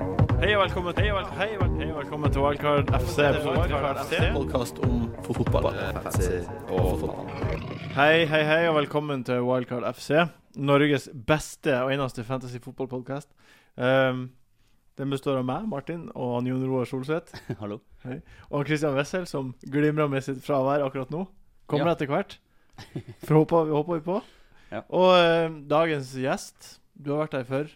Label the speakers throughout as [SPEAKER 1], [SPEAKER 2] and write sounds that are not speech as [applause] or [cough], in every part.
[SPEAKER 1] og velkommen til Wildcard Hei, vel- hei, velkommen til Wildcard FC.
[SPEAKER 2] podkast om for fotball. Og fotball.
[SPEAKER 1] Hei, hei, hei, og velkommen til Wildcard FC. Norges beste og eneste fantasy fotballpodkast. Um, den består av meg, Martin, og han Jon Roar Solseth.
[SPEAKER 2] [laughs] Hallo.
[SPEAKER 1] Og Christian Wessel, som glimrer med sitt fravær akkurat nå. Kommer
[SPEAKER 2] Ja.
[SPEAKER 1] etter hvert. For håper, vi- håper vi på.
[SPEAKER 2] Ja.
[SPEAKER 1] Og um, dagens gjest, du har vært her før.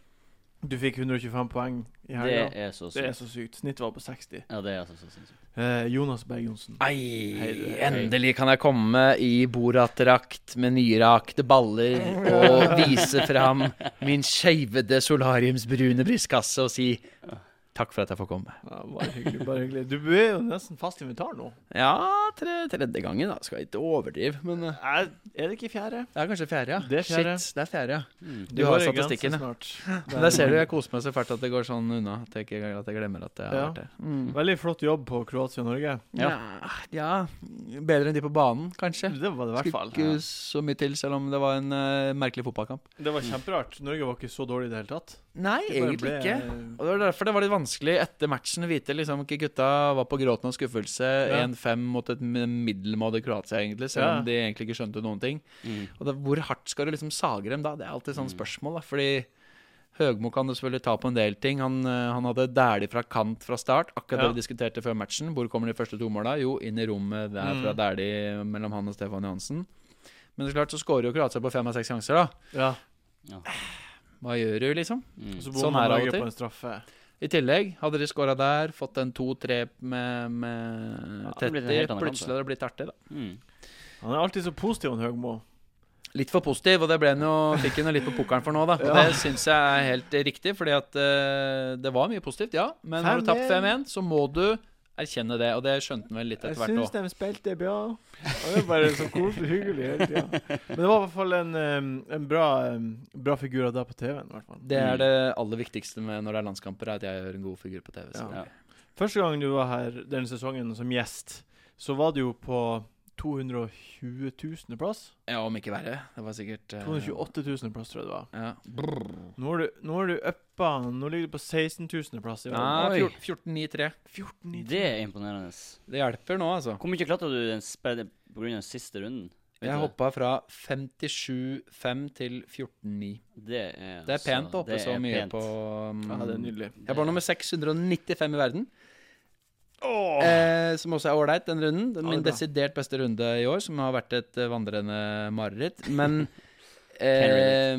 [SPEAKER 1] Du fikk 125 poeng i
[SPEAKER 2] Det
[SPEAKER 1] helga.
[SPEAKER 2] er så
[SPEAKER 1] Det er
[SPEAKER 2] sykt.
[SPEAKER 1] så sykt. Snittet var på 60.
[SPEAKER 2] Ja, det er altså så sinnssykt.
[SPEAKER 1] Eh, Jonas Berg Johnsen. Hei, du.
[SPEAKER 3] Ei, endelig kan jeg komme i Borat-drakt med nyrakte baller og vise fram min skeivede solariumsbrune brystkasse og si takk for at jeg får komme.
[SPEAKER 1] Ja, bare hyggelig, bare hyggelig. Du er jo nesten fast invitar nå.
[SPEAKER 3] Ja, tre, tredje gangen, da. Skal jeg ikke overdrive, men eh,
[SPEAKER 1] Er, er det ikke fjerde?
[SPEAKER 3] det er kanskje fjerde, ja.
[SPEAKER 1] Det er fjerde.
[SPEAKER 3] Shit, det er fjerde, ja.
[SPEAKER 2] Mm,
[SPEAKER 1] Det
[SPEAKER 3] Du
[SPEAKER 1] går
[SPEAKER 3] har
[SPEAKER 1] en
[SPEAKER 3] statistikken,
[SPEAKER 1] grense
[SPEAKER 3] ja.
[SPEAKER 1] snart.
[SPEAKER 3] Men [laughs] Der ser du jeg koser meg så fælt at det går sånn unna at jeg, ikke, at jeg glemmer at jeg har
[SPEAKER 1] Ja.
[SPEAKER 3] vært der. Mm.
[SPEAKER 1] Veldig flott jobb på Kroatia og Norge.
[SPEAKER 3] Ja. ja, bedre enn de på banen, kanskje.
[SPEAKER 1] Det var det i hvert fall.
[SPEAKER 3] Skulle ikke så mye til, selv om det var en eh, merkelig fotballkamp.
[SPEAKER 1] Det var kjemperart. Norge var ikke så dårlig i det hele tatt.
[SPEAKER 3] Nei,
[SPEAKER 1] De bare
[SPEAKER 3] egentlig
[SPEAKER 1] ble- eh,
[SPEAKER 3] ikke. Og Det var derfor det var litt vanskelig etter matchen å vite liksom ikke gutta var på gråten og skuffelse.
[SPEAKER 1] Ja.
[SPEAKER 3] 1-5 mot et m- middelmådig Kroatia, egentlig, selv
[SPEAKER 1] Ja.
[SPEAKER 3] om de egentlig ikke skjønte noen ting.
[SPEAKER 2] mm,
[SPEAKER 3] Og da, Hvor hardt skal du liksom sage dem da? Det er alltid
[SPEAKER 1] Mm.
[SPEAKER 3] sånn spørsmål. da Fordi Høgmo kan jo selvfølgelig ta på en del ting. Han, eh, han hadde Dæhlie fra kant fra start, akkurat
[SPEAKER 1] Ja.
[SPEAKER 3] det vi diskuterte før matchen. Hvor kommer de første to måla? Jo, inn i rommet
[SPEAKER 1] Mm.
[SPEAKER 3] der fra Dæhlie mellom han og Stefan Johansen. Men det er klart så skårer jo Kroatia på fem av seks sjanser, da.
[SPEAKER 1] Ja.
[SPEAKER 3] Hva gjør du, liksom?
[SPEAKER 2] mm,
[SPEAKER 1] Og så
[SPEAKER 3] Sånn
[SPEAKER 1] bomma
[SPEAKER 3] er det av og
[SPEAKER 1] Norge
[SPEAKER 3] til.
[SPEAKER 1] på en straffe.
[SPEAKER 3] I tillegg, hadde de skåra der, fått en 2-3 med, med
[SPEAKER 2] det hadde blitt en helt
[SPEAKER 3] 30,
[SPEAKER 2] annen kamp,
[SPEAKER 3] plutselig hadde det blitt artig, da.
[SPEAKER 2] mm.
[SPEAKER 1] Han er alltid så positiv, han Høgmo.
[SPEAKER 3] Litt for positiv, og det ble han jo, fikk han jo litt på pokeren for nå, da. Og det syns jeg er helt riktig, fordi at eh, det var mye positivt, ja. Men har du tapt
[SPEAKER 1] 5-1,
[SPEAKER 3] 5-1, så må du erkjenne det, og det skjønte han vel litt etter hvert òg.
[SPEAKER 1] de spilte bra. Han er bare så koselig hyggelig hele tida. Men det var i hvert fall en, eh, en bra, eh, bra figur av deg på TV-en. i hvert fall.
[SPEAKER 3] Det er det aller viktigste med når det er landskamper, er at jeg gjør en god figur på TV. Så.
[SPEAKER 1] Ja. Første gang du var her denne sesongen som gjest, så var du jo på 220 000. plass.
[SPEAKER 3] Ja, om ikke verre. Det var sikkert eh,
[SPEAKER 1] 228 000. plass, tror jeg det var.
[SPEAKER 3] Ja. Mm.
[SPEAKER 1] Nå er du, nå er du uppa. Nå ligger du på 16 000. plass i verden.
[SPEAKER 3] Nei,
[SPEAKER 2] Oi.
[SPEAKER 3] 14 14-9-3.
[SPEAKER 1] 14 000.
[SPEAKER 2] Det er imponerende.
[SPEAKER 3] Det hjelper nå, altså.
[SPEAKER 2] Hvor mye klatra du den spe- på grunn av den siste runden? Vet
[SPEAKER 3] Jeg
[SPEAKER 2] du det?
[SPEAKER 3] hoppa fra 57,5 til 14,9.
[SPEAKER 2] Det er,
[SPEAKER 3] Det er
[SPEAKER 2] altså-
[SPEAKER 3] pent å hoppe
[SPEAKER 2] det
[SPEAKER 3] så
[SPEAKER 2] er
[SPEAKER 3] mye
[SPEAKER 2] pent.
[SPEAKER 3] på um,
[SPEAKER 1] Ja, det er nydelig.
[SPEAKER 3] Jeg var nummer 695 i verden. Eh, som også er ålreit, den runden. Den
[SPEAKER 1] Ja,
[SPEAKER 3] min
[SPEAKER 1] det er bra.
[SPEAKER 3] desidert beste runde i år, som har vært et eh, vandrende mareritt.
[SPEAKER 1] [laughs]
[SPEAKER 3] Men
[SPEAKER 2] relate.
[SPEAKER 3] eh,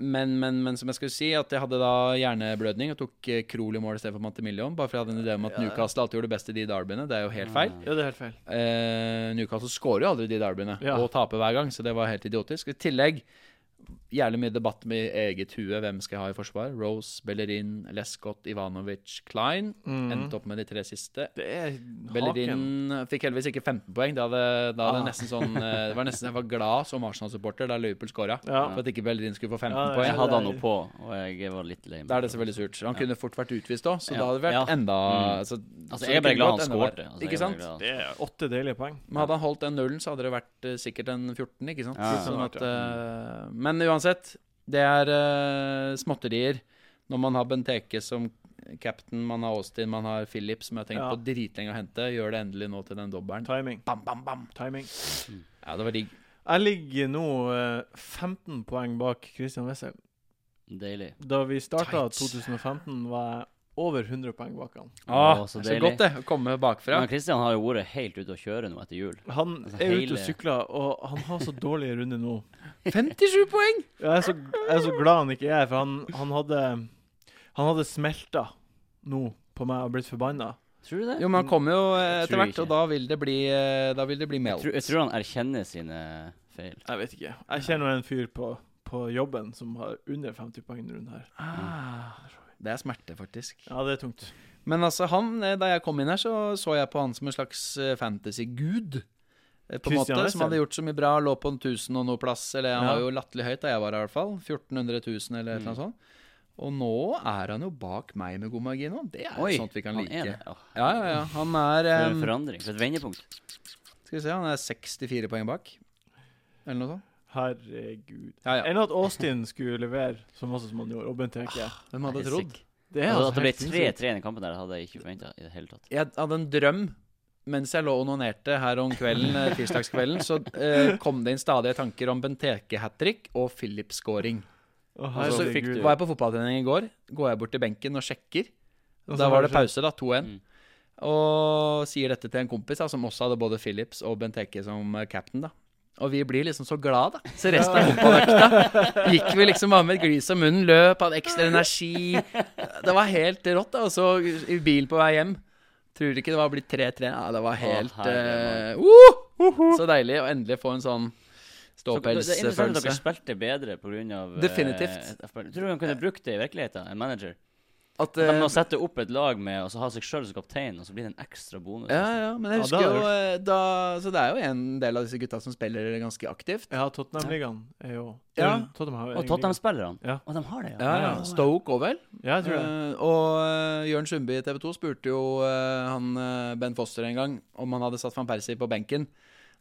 [SPEAKER 3] men, men, men som jeg skulle si, at jeg hadde da hjerneblødning og tok eh, Krohl i mål istedenfor Mantimillion. Bare for jeg hadde en idé om at Newcastle alltid gjorde det best i de derbyene. Det er jo helt feil.
[SPEAKER 1] Ja, det er helt feil.
[SPEAKER 3] Eh, Newcastle skårer jo aldri de derbyene,
[SPEAKER 1] Ja.
[SPEAKER 3] og taper hver gang, så det var helt idiotisk. I tillegg jævlig mye debatt med eget hue. Hvem skal jeg ha i forsvar? Rose, Bellerin, Lescott, Ivanovic, Klein. Mm.
[SPEAKER 2] Mhm.
[SPEAKER 3] Endte opp med de tre siste.
[SPEAKER 1] Mm. Det er haken.
[SPEAKER 3] Bellerin fikk heldigvis ikke 15 poeng. Da hadde, da hadde
[SPEAKER 1] Ah.
[SPEAKER 3] nesten sånn eh, Det var nesten jeg var glad som Arsenal-supporter da Liverpool skåra,
[SPEAKER 1] Ja.
[SPEAKER 3] for at ikke Bellerin skulle få 15
[SPEAKER 1] Ja,
[SPEAKER 3] poeng.
[SPEAKER 2] Jeg hadde han nå på, og jeg var litt lei meg.
[SPEAKER 3] Da er det selvfølgelig surt. Han kunne fort vært utvist òg, så
[SPEAKER 2] Ja.
[SPEAKER 3] da hadde det vært
[SPEAKER 2] Ja.
[SPEAKER 3] enda
[SPEAKER 2] Mm.
[SPEAKER 3] altså,
[SPEAKER 2] Altså,
[SPEAKER 3] så
[SPEAKER 2] jeg er
[SPEAKER 3] det
[SPEAKER 2] bare
[SPEAKER 3] kunne
[SPEAKER 2] glad
[SPEAKER 3] gått
[SPEAKER 2] han
[SPEAKER 3] enda verre.
[SPEAKER 2] skårte. Altså, jeg er
[SPEAKER 3] ikke sant?
[SPEAKER 2] bare glad.
[SPEAKER 1] Det er åtte deilige poeng.
[SPEAKER 3] Men hadde han holdt den nullen, så hadde det vært eh, sikkert en 14, ikke sant?
[SPEAKER 2] Ja, ja.
[SPEAKER 3] Sånn at, eh, men uansett, det er eh, småtterier når man har Benteke som captain, man har Austin, man har Philip, som jeg har tenkt
[SPEAKER 1] Ja.
[SPEAKER 3] på dritlenge å hente. Gjør det endelig nå til den dobbelen.
[SPEAKER 1] Timing.
[SPEAKER 3] Bam, bam, bam.
[SPEAKER 1] Timing.
[SPEAKER 3] Ja, det var digg.
[SPEAKER 1] Jeg ligger nå eh, 15 poeng bak Christian Wessel.
[SPEAKER 2] Mm. Deilig.
[SPEAKER 1] Da vi starta
[SPEAKER 3] Tight.
[SPEAKER 1] 2015, var jeg over 100 poeng bak han.
[SPEAKER 3] Åh,
[SPEAKER 2] Å, så
[SPEAKER 3] så,
[SPEAKER 2] deilig.
[SPEAKER 3] godt, det. Å komme bakfra.
[SPEAKER 2] Men Christian har jo vært helt ute å kjøre nå etter jul.
[SPEAKER 1] Han
[SPEAKER 2] Altså,
[SPEAKER 1] er ute
[SPEAKER 2] hele-
[SPEAKER 1] og sykler, og han har så dårlige runder nå.
[SPEAKER 3] [laughs] 57 poeng!
[SPEAKER 1] Jeg er så, jeg er så glad han ikke er, for han, han hadde Han hadde smelta nå på meg og blitt forbanna.
[SPEAKER 2] Tror du det?
[SPEAKER 3] Jo, men han kommer jo eh,
[SPEAKER 2] Jeg tror
[SPEAKER 3] etter hvert,
[SPEAKER 2] ikke.
[SPEAKER 3] og da vil det bli, eh, da vil det bli
[SPEAKER 2] jeg,
[SPEAKER 3] meld.
[SPEAKER 2] tror, jeg tror han erkjenner sine feil.
[SPEAKER 1] Jeg vet ikke. Jeg kjenner en fyr på, på jobben som har under 50 poeng rundt her.
[SPEAKER 3] Ah, det er smerte, faktisk.
[SPEAKER 1] Ja, det er tungt.
[SPEAKER 3] Men altså, han, eh, da jeg kom inn her, så så jeg på han som en slags eh, fantasy-gud. eh, På en måte,
[SPEAKER 1] Christian
[SPEAKER 3] som hadde
[SPEAKER 1] Wessel.
[SPEAKER 3] gjort så mye bra, lå på en 1000 og noe plass. Eller han
[SPEAKER 1] Ja.
[SPEAKER 3] var jo latterlig høyt da jeg var her, i hvert fall. 1400 000 eller et eller annet sånt. Og nå er han jo bak meg med god margin nå. Det er jo sånt vi kan
[SPEAKER 2] han
[SPEAKER 3] like.
[SPEAKER 2] er det. altså. Åh,
[SPEAKER 3] Ja, ja, ja. Han er
[SPEAKER 2] For en
[SPEAKER 3] em,
[SPEAKER 2] forandring. For et vendepunkt.
[SPEAKER 3] Skal vi se, han er 64 poeng bak. Eller noe sånt.
[SPEAKER 1] Herregud.
[SPEAKER 3] Ja, ja.
[SPEAKER 1] Enn at Austin skulle levere som også som han gjorde, og Benteke.
[SPEAKER 3] Hvem hadde
[SPEAKER 2] Jeg er
[SPEAKER 3] trodd?
[SPEAKER 2] sikker.
[SPEAKER 1] Det er
[SPEAKER 2] altså,
[SPEAKER 1] altså
[SPEAKER 2] at det ble
[SPEAKER 1] helt sinnssykt.
[SPEAKER 2] 3-3 i den kampen der, hadde jeg ikke forventa i det hele tatt.
[SPEAKER 3] Jeg hadde en drøm mens jeg lå og onanerte her om kvelden, eh, tirsdagskvelden, så eh, kom det inn stadige tanker om Benteke hat trick og Philip-scoring.
[SPEAKER 1] Å,
[SPEAKER 3] Og altså, så
[SPEAKER 1] herregud.
[SPEAKER 3] fikk, var jeg på fotballtrening i går, går jeg bort til benken og sjekker.
[SPEAKER 1] Og så
[SPEAKER 3] Da
[SPEAKER 1] har
[SPEAKER 3] var det
[SPEAKER 1] det skjedd.
[SPEAKER 3] pause, da. 2-1.
[SPEAKER 2] Mm.
[SPEAKER 3] [laughs] Og sier dette til en kompis da, som også hadde både Philips og Benteke som eh, captain. da. Og vi blir liksom så glad, da. Så resten av
[SPEAKER 2] [laughs]
[SPEAKER 3] fotballøkta gikk vi liksom bare med et glis om munnen, løp, hadde ekstra energi. Det var helt rått, da. Og så i bil på vei hjem. Tror du ikke det var blitt 3-3? Ja, det var helt
[SPEAKER 2] herre
[SPEAKER 3] eh, uh, Så deilig å endelig få en sånn
[SPEAKER 2] Så det det er interessant at
[SPEAKER 3] ståpelsfølelse.
[SPEAKER 2] dere spilte bedre pga.
[SPEAKER 3] Definitivt.
[SPEAKER 2] Jeg eh, tror han kunne brukt det i virkeligheten, en manager.
[SPEAKER 3] At,
[SPEAKER 2] De
[SPEAKER 3] eh,
[SPEAKER 2] må sette opp et lag med og så ha seg sjøl som kaptein, og så blir det en ekstra bonus.
[SPEAKER 3] Ja, ja, men jeg
[SPEAKER 1] Ja, det
[SPEAKER 3] husker
[SPEAKER 1] hadde
[SPEAKER 3] jo eh, da, Så det er jo en del av disse gutta som spiller ganske aktivt.
[SPEAKER 1] Ja, Tottenham-ligaen er jo
[SPEAKER 3] Ja.
[SPEAKER 1] Eller, Tottenham har jo
[SPEAKER 2] Og
[SPEAKER 1] egen
[SPEAKER 2] Tottenham-spillerne.
[SPEAKER 1] Ja.
[SPEAKER 2] Og de har det,
[SPEAKER 3] Ja, ja. Stoke òg, vel.
[SPEAKER 1] liga. Ja, jeg tror det.
[SPEAKER 3] Eh, og eh, Jørn Sundby i TV 2 spurte jo eh, han eh, Ben Foster en gang om han hadde satt van Persie på benken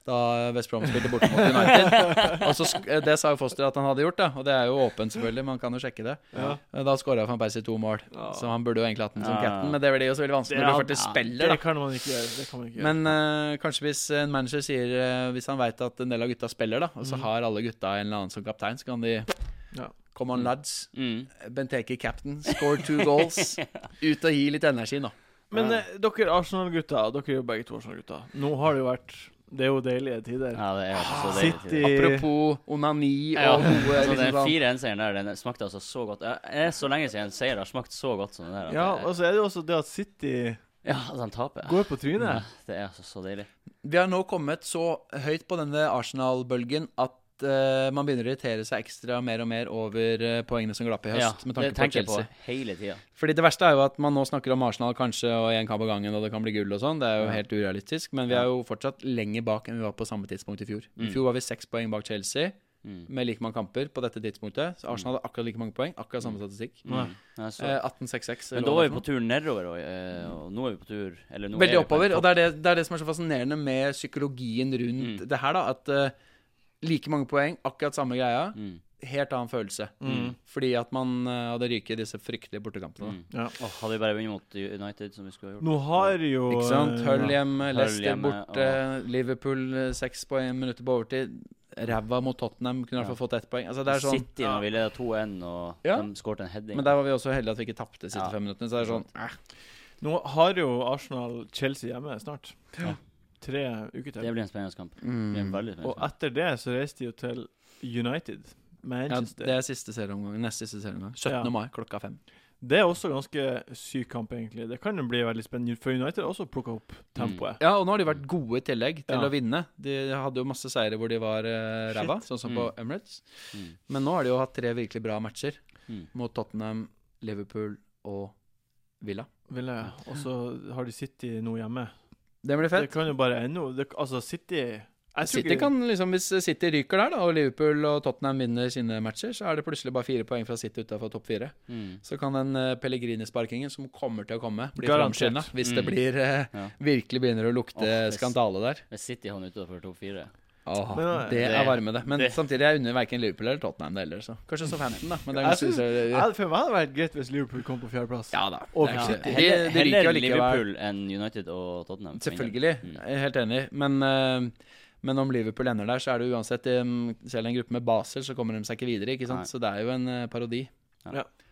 [SPEAKER 3] da West Brom spilte borte mot
[SPEAKER 1] [laughs]
[SPEAKER 3] United. og så, sk- eh, det sa jo Foster at han hadde gjort, da. Og det er jo åpent, selvfølgelig. Man kan jo sjekke det.
[SPEAKER 1] Ja.
[SPEAKER 3] Eh, Da skåra van Persie to mål,
[SPEAKER 1] Ja.
[SPEAKER 3] så han burde jo egentlig hatt den som
[SPEAKER 2] Ja.
[SPEAKER 3] captain. Men det blir jo så veldig vanskelig
[SPEAKER 1] Det
[SPEAKER 3] når
[SPEAKER 1] er-
[SPEAKER 3] du faktisk
[SPEAKER 2] ja,
[SPEAKER 3] spiller, da.
[SPEAKER 1] Det kan man ikke gjøre. Det kan man ikke gjøre.
[SPEAKER 3] Men eh, kanskje hvis en manager sier eh, Hvis han veit at en del av gutta spiller, da og så har alle gutta en eller annen som kaptein, så kan de
[SPEAKER 1] Mm. Ja.
[SPEAKER 3] Come on, lads.
[SPEAKER 2] Mm.
[SPEAKER 3] Benteke captain. Score two
[SPEAKER 2] [laughs]
[SPEAKER 3] goals. Ut og gi litt energi, nå.
[SPEAKER 1] Men eh, dere Arsenal-gutter, dere er jo begge to Arsenal-gutter. Nå har det jo vært Det er jo deilige tider.
[SPEAKER 2] ja, det er så
[SPEAKER 1] City
[SPEAKER 2] deilig.
[SPEAKER 3] Apropos onani
[SPEAKER 2] Ja, [laughs]
[SPEAKER 3] og gode
[SPEAKER 2] altså, den
[SPEAKER 3] liksom, sånn.
[SPEAKER 2] 4-1-seieren der, den smakte altså så godt. Jeg- Det er så lenge siden en seier har smakt så godt som den der. at
[SPEAKER 1] Ja,
[SPEAKER 2] det-
[SPEAKER 3] altså-
[SPEAKER 1] og så er det jo også det at City
[SPEAKER 2] ja at han taper.
[SPEAKER 1] går på
[SPEAKER 2] Ja,
[SPEAKER 1] trynet.
[SPEAKER 2] det er altså så deilig.
[SPEAKER 3] Vi har nå kommet så høyt på denne Arsenal-bølgen at eh, man begynner å irritere seg ekstra mer og mer over eh, poengene som glapp i høst,
[SPEAKER 2] Ja,
[SPEAKER 3] med
[SPEAKER 2] det tenker
[SPEAKER 3] tanke på
[SPEAKER 2] jeg
[SPEAKER 3] Chelsea.
[SPEAKER 2] på hele tida.
[SPEAKER 3] Fordi det verste er jo at man nå snakker om Arsenal kanskje og en kamp av gangen, og det kan bli gull og sånn. Det er jo
[SPEAKER 2] Ja.
[SPEAKER 3] helt urealistisk. Men vi er jo fortsatt lenger bak enn vi var på samme tidspunkt i fjor. I
[SPEAKER 2] Mm.
[SPEAKER 3] fjor var vi seks poeng bak Chelsea
[SPEAKER 2] Mm.
[SPEAKER 3] med like mange kamper på dette tidspunktet. Så Arsenal hadde akkurat like mange poeng, akkurat samme statistikk.
[SPEAKER 1] Nei.
[SPEAKER 2] Mm. Ja, så-
[SPEAKER 3] Eh, 18-6-6.
[SPEAKER 2] Men
[SPEAKER 3] eller
[SPEAKER 2] da
[SPEAKER 3] hva
[SPEAKER 2] var vi
[SPEAKER 3] det er
[SPEAKER 2] på
[SPEAKER 3] for noe.
[SPEAKER 2] tur nedover, og, eh, og nå er vi på tur eller nå
[SPEAKER 3] Veldig
[SPEAKER 2] er vi på
[SPEAKER 3] oppover.
[SPEAKER 2] en
[SPEAKER 3] Og det er det, det er det som er så fascinerende med psykologien rundt
[SPEAKER 2] Mm.
[SPEAKER 3] det her, da. At eh, like mange poeng, akkurat samme greia,
[SPEAKER 2] topp. Mm.
[SPEAKER 3] helt annen følelse.
[SPEAKER 1] Mm.
[SPEAKER 3] Fordi at man eh, hadde ryket i disse fryktelige bortekampene. da.
[SPEAKER 2] Mm.
[SPEAKER 1] Ja.
[SPEAKER 2] Åh, hadde vi bare vunnet mot United, som vi skulle ha gjort
[SPEAKER 1] Nå har jo
[SPEAKER 3] Ikke sant?
[SPEAKER 1] eh,
[SPEAKER 3] Hull hjemme,
[SPEAKER 2] Hull
[SPEAKER 3] Leicester
[SPEAKER 2] hjemme,
[SPEAKER 3] borte, Liverpool eh, seks poeng, minutter på overtid. Ræva mot Tottenham, kunne i hvert fall fått ett poeng. Altså, det er sånn,
[SPEAKER 2] City når vi leder 2-1, og
[SPEAKER 3] Ja.
[SPEAKER 2] de skåret en heading.
[SPEAKER 3] men der var vi også heldige at vi ikke tapte de siste
[SPEAKER 2] Ja.
[SPEAKER 3] fem minuttene. Så det er sånn
[SPEAKER 1] Nå har jo Arsenal Chelsea hjemme snart.
[SPEAKER 2] Ja.
[SPEAKER 1] Tre uker til.
[SPEAKER 2] Det blir en spennende kamp. Det blir en
[SPEAKER 3] mm.
[SPEAKER 2] veldig spennende
[SPEAKER 1] Og etter det så reiste de jo til United.
[SPEAKER 3] ja,
[SPEAKER 1] Manchester.
[SPEAKER 3] Det er siste serieomgang. Neste siste serieomgang. 17.
[SPEAKER 1] Ja.
[SPEAKER 3] mai klokka fem.
[SPEAKER 1] det er også ganske syk kamp, egentlig. Det kan jo bli veldig spennende, for United har også plukka opp tempoet.
[SPEAKER 3] Ja, og nå har de vært gode i tillegg til
[SPEAKER 1] Ja.
[SPEAKER 3] å vinne. De hadde jo masse seire hvor de var eh, ræva, sånn som på Emirates.
[SPEAKER 2] Mm.
[SPEAKER 3] Men nå har de jo hatt tre virkelig bra matcher
[SPEAKER 2] Mm.
[SPEAKER 3] mot Tottenham, Liverpool og Villa.
[SPEAKER 1] Vil jeg. Og så har de City nå hjemme.
[SPEAKER 3] Det blir
[SPEAKER 1] Det
[SPEAKER 3] fett.
[SPEAKER 1] kan jo bare ende det, Altså, City jeg tror
[SPEAKER 3] City
[SPEAKER 1] ikke-
[SPEAKER 3] kan liksom, Hvis City ryker der, da, og Liverpool og Tottenham vinner sine matcher, så er det plutselig bare fire poeng fra City utafor topp fire.
[SPEAKER 2] Mm.
[SPEAKER 3] Så kan den eh, Pellegrini-sparkingen, som kommer til å komme, bli
[SPEAKER 1] Garantert.
[SPEAKER 3] framskynda hvis det
[SPEAKER 2] Mm.
[SPEAKER 3] blir eh,
[SPEAKER 2] Ja.
[SPEAKER 3] virkelig begynner å lukte
[SPEAKER 2] Åh, hvis-
[SPEAKER 3] skandale der.
[SPEAKER 2] Hvis City havner utenfor topp fire
[SPEAKER 3] Åh,
[SPEAKER 1] Men, eh,
[SPEAKER 3] det
[SPEAKER 2] det-
[SPEAKER 3] er varme, det. Men
[SPEAKER 2] det-
[SPEAKER 3] samtidig, jeg unner verken Liverpool eller Tottenham det heller, så Kanskje Southampton, da. Men det er
[SPEAKER 1] Jeg
[SPEAKER 3] ganske
[SPEAKER 1] synes-
[SPEAKER 3] useriøst.
[SPEAKER 1] Ja, For meg hadde det vært greit hvis Liverpool kom på fjerdeplass.
[SPEAKER 3] Ja da.
[SPEAKER 1] Og
[SPEAKER 3] det er
[SPEAKER 1] City.
[SPEAKER 3] ikke-
[SPEAKER 2] Heller,
[SPEAKER 3] de- de ryker
[SPEAKER 2] heller
[SPEAKER 3] allikevel.
[SPEAKER 2] Liverpool enn United og Tottenham. for min del.
[SPEAKER 3] Selvfølgelig.
[SPEAKER 2] Mm.
[SPEAKER 3] Jeg er helt enig. Men, eh, men om Liverpool ender der, så er det uansett em, Selv en gruppe med Basel, så kommer de seg ikke videre. ikke sant?
[SPEAKER 2] Nei.
[SPEAKER 3] Så det er jo en eh, parodi.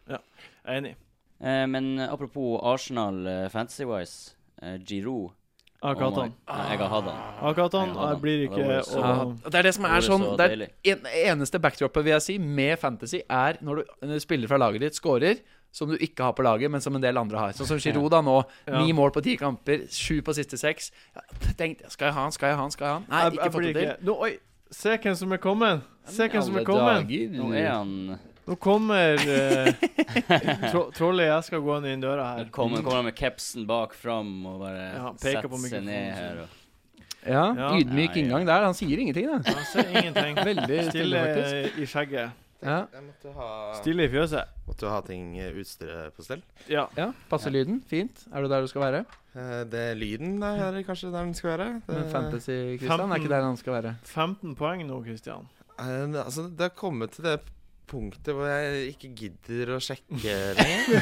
[SPEAKER 1] Jeg er enig.
[SPEAKER 2] Eh, men eh, apropos Arsenal eh, fantasy-wise. Eh, Giroud
[SPEAKER 1] Jeg har ikke hatt
[SPEAKER 2] Oh my-
[SPEAKER 1] han.
[SPEAKER 2] Nei, Jeg har hatt han.
[SPEAKER 1] Jeg har ikke hatt han, og jeg blir ikke
[SPEAKER 2] Ja, det var
[SPEAKER 1] og,
[SPEAKER 3] Og det Ah, er det som er
[SPEAKER 2] Det
[SPEAKER 3] sånn
[SPEAKER 2] var så
[SPEAKER 3] Det er
[SPEAKER 2] deilig.
[SPEAKER 3] en, eneste backdroppet vil jeg si med Fantasy, er når du når du spiller fra laget ditt, scorer. Som du ikke har på laget, men som en del andre har. Sånn som Giroud da nå.
[SPEAKER 1] Ja.
[SPEAKER 3] Ni mål på ti kamper, sju på siste seks. Jeg tenkte, skal jeg ha han, skal jeg ha han, skal jeg ha han? Nei,
[SPEAKER 1] jeg,
[SPEAKER 3] ikke
[SPEAKER 1] jeg
[SPEAKER 3] fått
[SPEAKER 1] blir
[SPEAKER 3] det til.
[SPEAKER 1] ikke Nå, oi! Se hvem som er kommet! Se hvem som er
[SPEAKER 3] Alle
[SPEAKER 1] kommet!
[SPEAKER 3] dager.
[SPEAKER 2] Nå er han
[SPEAKER 1] Nå kommer eh, tro, Trollet jeg skal gå inn inn døra her.
[SPEAKER 2] Nå kommer, kommer han med capsen bak fram og bare
[SPEAKER 1] Mm. Ja, peker
[SPEAKER 2] setter
[SPEAKER 1] på
[SPEAKER 2] seg
[SPEAKER 1] mikrofonen,
[SPEAKER 2] ned
[SPEAKER 1] så-
[SPEAKER 2] her. Og,
[SPEAKER 3] Ja,
[SPEAKER 1] Ja.
[SPEAKER 3] ydmyk
[SPEAKER 2] Ja, ja.
[SPEAKER 3] inngang der. Han sier ingenting, da.
[SPEAKER 1] Han ser ingenting.
[SPEAKER 3] Veldig
[SPEAKER 1] Stille
[SPEAKER 3] stille, faktisk.
[SPEAKER 1] i skjegget.
[SPEAKER 3] Ja,
[SPEAKER 4] Jeg måtte ha,
[SPEAKER 1] Stille i fjøset.
[SPEAKER 4] måtte ha ting eh, utstyret på stell.
[SPEAKER 1] Ja.
[SPEAKER 3] ja Passer lyden? Fint. Er du der du skal være?
[SPEAKER 4] Eh, Det er lyden der er kanskje der den skal være.
[SPEAKER 1] Eh,
[SPEAKER 4] Det,
[SPEAKER 3] Men Fantasy-Christian er ikke der han skal være.
[SPEAKER 1] 15 poeng nå, Christian.
[SPEAKER 4] Eh, altså, det har kommet til det punktet hvor jeg ikke gidder å sjekke lenger.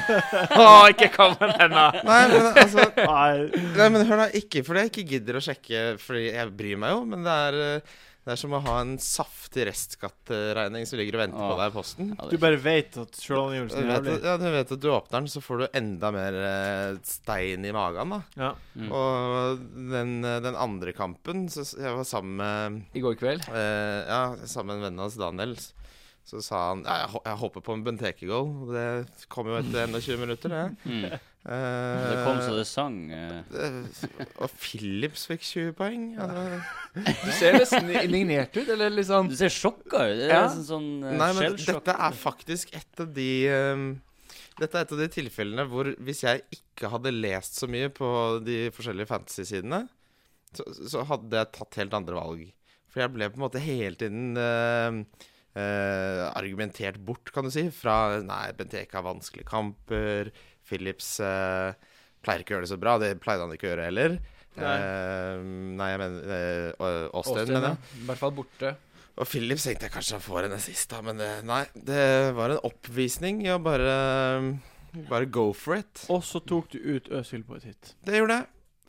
[SPEAKER 3] Å, ikke kom med den, da!
[SPEAKER 4] Nei, men altså
[SPEAKER 1] Nei,
[SPEAKER 4] Nei, men hør da, ikke fordi jeg ikke gidder å sjekke, fordi jeg bryr meg jo, men det er, eh, det er som å ha en saftig restskattregning som ligger og venter på
[SPEAKER 2] Åh.
[SPEAKER 4] deg i posten.
[SPEAKER 2] Ja,
[SPEAKER 1] du
[SPEAKER 2] det-
[SPEAKER 1] bare vet at
[SPEAKER 4] Du
[SPEAKER 1] sjølangivelsen er
[SPEAKER 4] vet, at-
[SPEAKER 1] jævlig.
[SPEAKER 4] ja, du vet at du åpner den, så får du enda mer eh, stein i magen, da.
[SPEAKER 1] Ja.
[SPEAKER 2] Mm.
[SPEAKER 4] Og den, eh, den andre kampen, så s- jeg var sammen med
[SPEAKER 3] I går kveld.
[SPEAKER 4] Eh, ja, sammen med vennen hans, Daniel, så sa han ja, jeg, hå- jeg håper på en Benteke-goal. Og Det kom jo etter 21 minutter, det.
[SPEAKER 2] Mm.
[SPEAKER 4] Eh,
[SPEAKER 2] Det kom så det sang. eh.
[SPEAKER 4] eh, og Philips fikk 20 poeng. Altså.
[SPEAKER 3] Du ser nesten indignert ut, eller litt sånn
[SPEAKER 2] Du ser sjokka ut. Det er
[SPEAKER 3] Ja.
[SPEAKER 2] nesten sånn eh,
[SPEAKER 4] Nei, men
[SPEAKER 2] skjellsjokk.
[SPEAKER 4] dette er faktisk et av de eh, Dette er et av de tilfellene hvor hvis jeg ikke hadde lest så mye på de forskjellige fantasy-sidene, så, så hadde jeg tatt helt andre valg. For jeg ble på en måte hele tiden eh, eh, argumentert bort, kan du si, fra Nei, Benteke har vanskelige kamper. Philips eh, pleier ikke å gjøre det så bra. Det pleide han ikke å gjøre heller.
[SPEAKER 1] Nei.
[SPEAKER 4] Eh, nei, jeg mener eh, Å- Austin,
[SPEAKER 3] Austin,
[SPEAKER 4] mener jeg.
[SPEAKER 3] ja. I hvert fall borte.
[SPEAKER 4] Og Philip tenkte jeg kanskje han får en assist, da, men det, nei. Det var en oppvisning i å bare Bare go for it.
[SPEAKER 1] Og så tok du ut Øzil på et hit.
[SPEAKER 4] Det gjorde jeg.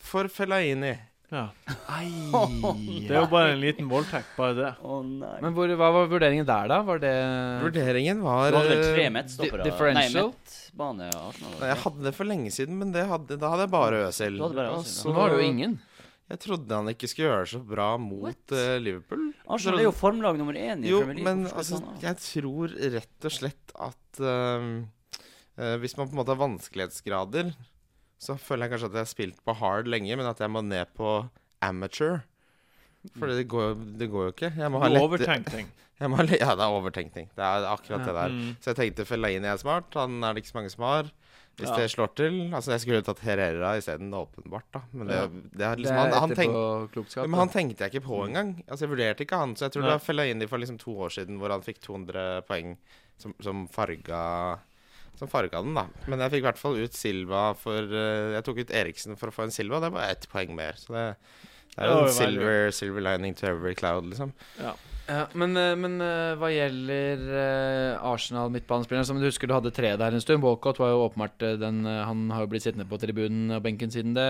[SPEAKER 4] For Fellaini.
[SPEAKER 1] Ja.
[SPEAKER 3] Ai.
[SPEAKER 1] Det er jo bare en liten voldtekt, bare det.
[SPEAKER 2] Å nei.
[SPEAKER 3] Men hvor, hva var vurderingen der, da? Var det
[SPEAKER 4] Vurderingen
[SPEAKER 2] Du
[SPEAKER 4] var
[SPEAKER 2] hadde vel tre
[SPEAKER 4] eh,
[SPEAKER 2] midtstoppere?
[SPEAKER 3] di- differential?
[SPEAKER 2] Nei, midtbane og Arsenal.
[SPEAKER 4] Nei, jeg hadde det for lenge siden, men det hadde, da hadde jeg bare Øsil.
[SPEAKER 2] Du hadde bare
[SPEAKER 4] Og
[SPEAKER 2] Özil,
[SPEAKER 4] så-
[SPEAKER 3] Nå har du jo ingen.
[SPEAKER 4] Jeg trodde han ikke skulle gjøre det så bra mot
[SPEAKER 2] What?
[SPEAKER 4] eh, Liverpool.
[SPEAKER 2] Arsenal er jo formlag nummer én i
[SPEAKER 4] Jo,
[SPEAKER 2] Premier League.
[SPEAKER 4] men
[SPEAKER 2] Hvorfor
[SPEAKER 4] altså,
[SPEAKER 2] skal han av?
[SPEAKER 4] jeg tror rett og slett at eh, eh, Hvis man på en måte har vanskelighetsgrader, så føler jeg kanskje at jeg har spilt på hard lenge, men at jeg må ned på amateur. For det går, jo- det går jo ikke. Jeg må ha
[SPEAKER 1] Du
[SPEAKER 4] lette
[SPEAKER 1] overtenker ting.
[SPEAKER 4] jeg må ha, le- Ja, det er overtenkning. Det er akkurat det der.
[SPEAKER 1] Mm.
[SPEAKER 4] Så jeg tenkte Fellaini er smart. Han er det ikke så mange som har. Hvis
[SPEAKER 1] Ja.
[SPEAKER 4] det slår til Altså, jeg skulle tatt Herrera isteden, åpenbart, da. Men det,
[SPEAKER 1] Ja.
[SPEAKER 4] det er liksom han, han tenk,
[SPEAKER 3] etterpåklokskap.
[SPEAKER 4] ja, Men han tenkte jeg ikke på engang. Altså, jeg vurderte ikke han. Så jeg tror
[SPEAKER 1] Nei.
[SPEAKER 4] det var Fellaini for liksom to år siden hvor han fikk 200 poeng, som, som farga som farga den, da. Men jeg fikk i hvert fall ut Silva for eh, Jeg tok ut Eriksen for å få en Silva. Det var ett poeng mer. Så det, det er
[SPEAKER 1] Det var
[SPEAKER 4] jo en
[SPEAKER 1] jo veldig
[SPEAKER 4] silver, silver lining to every cloud, liksom.
[SPEAKER 3] Ja, men, eh, men eh, hva gjelder eh, Arsenal midtbanespilleren, som du husker du hadde tre der en stund. Walcott var jo åpenbart eh, den eh, Han har jo blitt sittende på tribunen og benken siden det.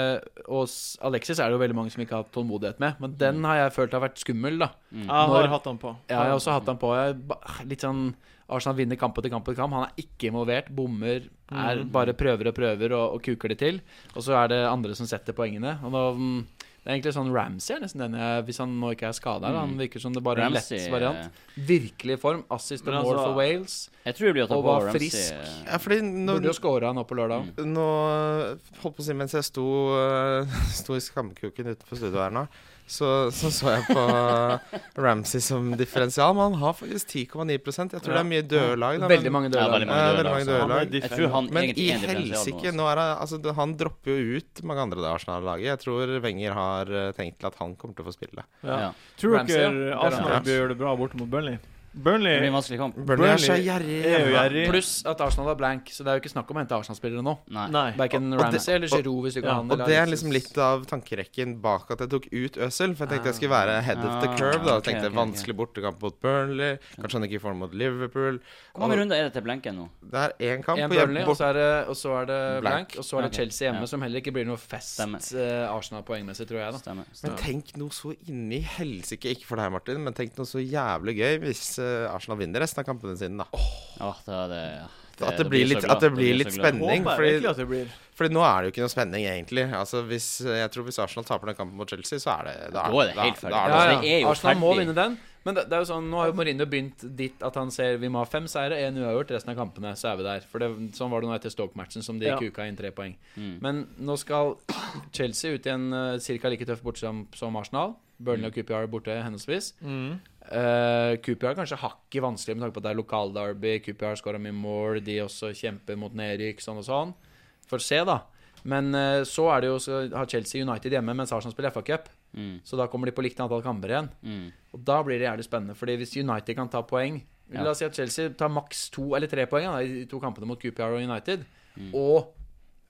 [SPEAKER 3] Og s- Alexis er det jo veldig mange som ikke har hatt tålmodighet med, men den har jeg følt har vært skummel, da.
[SPEAKER 1] Jeg har
[SPEAKER 3] Når-
[SPEAKER 1] hatt han på.
[SPEAKER 3] Ja, jeg har også hatt han på. Jeg, ba- litt sånn Arsenal vinner kamp etter kamp etter kamp. Han er ikke involvert. Bommer. Er
[SPEAKER 1] Mhm.
[SPEAKER 3] bare prøver og prøver og, og kuker det til. Og så er det andre som setter poengene. Og da, mm, det er egentlig sånn Ramsey er nesten den jeg Hvis han nå ikke er skada.
[SPEAKER 2] Mhm.
[SPEAKER 3] Han virker som det bare er en
[SPEAKER 2] Ramsey eh,
[SPEAKER 3] lett variant. Virkelig i form. Assist og
[SPEAKER 1] Men
[SPEAKER 3] mål
[SPEAKER 1] altså-
[SPEAKER 3] for Wales.
[SPEAKER 2] Jeg tror det blir å ta
[SPEAKER 3] Og
[SPEAKER 2] på
[SPEAKER 3] var
[SPEAKER 2] Ramsey.
[SPEAKER 3] frisk.
[SPEAKER 2] eh,
[SPEAKER 4] Ja, fordi nå,
[SPEAKER 3] Burde jo skåra nå på lørdag.
[SPEAKER 2] Mm.
[SPEAKER 4] nå eh, holdt på å si mens jeg sto, eh, sto i skamkuken utenfor studio her nå, så så, så jeg på Ramsey som differensial. Men han har faktisk 10,9 Jeg tror det er mye døde lag. da,
[SPEAKER 3] Veldig
[SPEAKER 4] men-
[SPEAKER 3] mange
[SPEAKER 4] Eh,
[SPEAKER 2] Ja, veldig mange
[SPEAKER 3] døde.
[SPEAKER 4] Ja,
[SPEAKER 2] døde
[SPEAKER 4] veldig
[SPEAKER 2] lag, så
[SPEAKER 4] mange døde
[SPEAKER 2] han-
[SPEAKER 1] lag.
[SPEAKER 2] Jeg tror han
[SPEAKER 4] Men
[SPEAKER 2] egentlig
[SPEAKER 4] i
[SPEAKER 2] er en differensial
[SPEAKER 4] helsike,
[SPEAKER 2] nå.
[SPEAKER 4] nå er det Altså, det- han dropper jo ut mange andre det Arsenal-laget. Jeg tror Wenger har eh, tenkt til at han kommer til å få spille.
[SPEAKER 1] Ja.
[SPEAKER 2] Ja.
[SPEAKER 1] Tror
[SPEAKER 3] Ramsey, ja. Det
[SPEAKER 1] dere
[SPEAKER 3] er
[SPEAKER 1] Arsenal
[SPEAKER 4] Ramsey.
[SPEAKER 1] bør gjøre det bra borte mot Burnley?
[SPEAKER 2] Det blir
[SPEAKER 1] Burnley
[SPEAKER 2] en vanskelig kamp.
[SPEAKER 4] Burnley er så
[SPEAKER 1] Burnley
[SPEAKER 4] gjerrig.
[SPEAKER 1] er jo
[SPEAKER 4] hjemme.
[SPEAKER 1] gjerrig.
[SPEAKER 3] Pluss at Arsenal er blank, så det er jo ikke snakk om å hente Arsenal-spillere nå.
[SPEAKER 2] Nei.
[SPEAKER 1] Nei.
[SPEAKER 3] Verken
[SPEAKER 4] Og- og det-
[SPEAKER 3] Ramsey eller Giroud hvis du
[SPEAKER 1] ja,
[SPEAKER 3] kan handle.
[SPEAKER 4] Og det er liksom litt av tankerekken bak at jeg tok ut Øsel. For jeg tenkte jeg skulle være head of the
[SPEAKER 2] Ah,
[SPEAKER 4] curve. da
[SPEAKER 2] ok,
[SPEAKER 4] Jeg tenkte
[SPEAKER 2] ok, ok.
[SPEAKER 4] Vanskelig bortekamp mot Burnley. Kanskje han ikke får den mot Liverpool.
[SPEAKER 2] Hvor mange runder er det til blenken nå?
[SPEAKER 4] Det er én kamp.
[SPEAKER 3] En
[SPEAKER 4] og jeg-
[SPEAKER 3] Burnley,
[SPEAKER 2] altså.
[SPEAKER 3] og
[SPEAKER 4] bort-
[SPEAKER 3] så er det, og så er det
[SPEAKER 4] Blank.
[SPEAKER 3] blank, og så er
[SPEAKER 2] Ok,
[SPEAKER 3] det Chelsea hjemme,
[SPEAKER 2] ja.
[SPEAKER 3] som heller ikke blir noe fest
[SPEAKER 2] Stemmer.
[SPEAKER 3] eh, Arsenal poengmessig, tror jeg. da
[SPEAKER 2] Stemmer.
[SPEAKER 4] Men tenk noe så inni helsike Ikke for deg, Martin, men tenk noe så jævlig gøy hvis eh, Arsenal vinner resten av kampene sine, da.
[SPEAKER 2] Ja, da er det,
[SPEAKER 4] At det
[SPEAKER 2] da
[SPEAKER 4] blir
[SPEAKER 2] jeg så
[SPEAKER 4] litt-
[SPEAKER 2] glad.
[SPEAKER 4] at det
[SPEAKER 2] Da
[SPEAKER 4] blir
[SPEAKER 2] jeg
[SPEAKER 4] litt
[SPEAKER 2] så glad.
[SPEAKER 4] spennende.
[SPEAKER 1] Håper jeg
[SPEAKER 4] fordi-
[SPEAKER 1] virkelig at det blir.
[SPEAKER 4] Fordi nå er det jo ikke noe spenning, egentlig. Altså, hvis, jeg tror hvis Arsenal taper den kampen mot Chelsea, så er det
[SPEAKER 2] Da er det helt ferdig.
[SPEAKER 4] da er
[SPEAKER 2] Ja,
[SPEAKER 4] det-
[SPEAKER 2] ja. det er jo
[SPEAKER 3] Arsenal må
[SPEAKER 2] ferdig.
[SPEAKER 3] vinne den, men det, det er jo sånn, nå har jo Mourinho begynt dit at han ser vi må ha fem seire, én uavgjort, resten av kampene, så er vi der. For det, Sånn var det nå etter Stoke-matchen, som de
[SPEAKER 1] Ja.
[SPEAKER 3] kuka inn tre poeng.
[SPEAKER 2] Mm.
[SPEAKER 3] Men nå skal Chelsea ut i en uh, ca. like tøff bortekamp som Arsenal. Burnley og Coopyar borte henholdsvis.
[SPEAKER 1] Mm.
[SPEAKER 3] Uh, Coopyar er kanskje hakket vanskelig med tanke på at det er lokalderby. Coopyar skåra mye mål, de også kjemper mot nedrykk, sånn og sånn. Får se, da. Men eh, så er det jo, så har Chelsea United hjemme, mens Arsenal spiller FA-cup.
[SPEAKER 2] Mm.
[SPEAKER 3] Så da kommer de på likt antall kamper igjen.
[SPEAKER 2] Mm.
[SPEAKER 3] Og da blir det jævlig spennende, Fordi hvis United kan ta poeng
[SPEAKER 2] Ja.
[SPEAKER 3] La oss si at Chelsea tar maks to eller tre poeng da, i de to kampene mot Coopyar og United.
[SPEAKER 1] Mm.
[SPEAKER 3] Og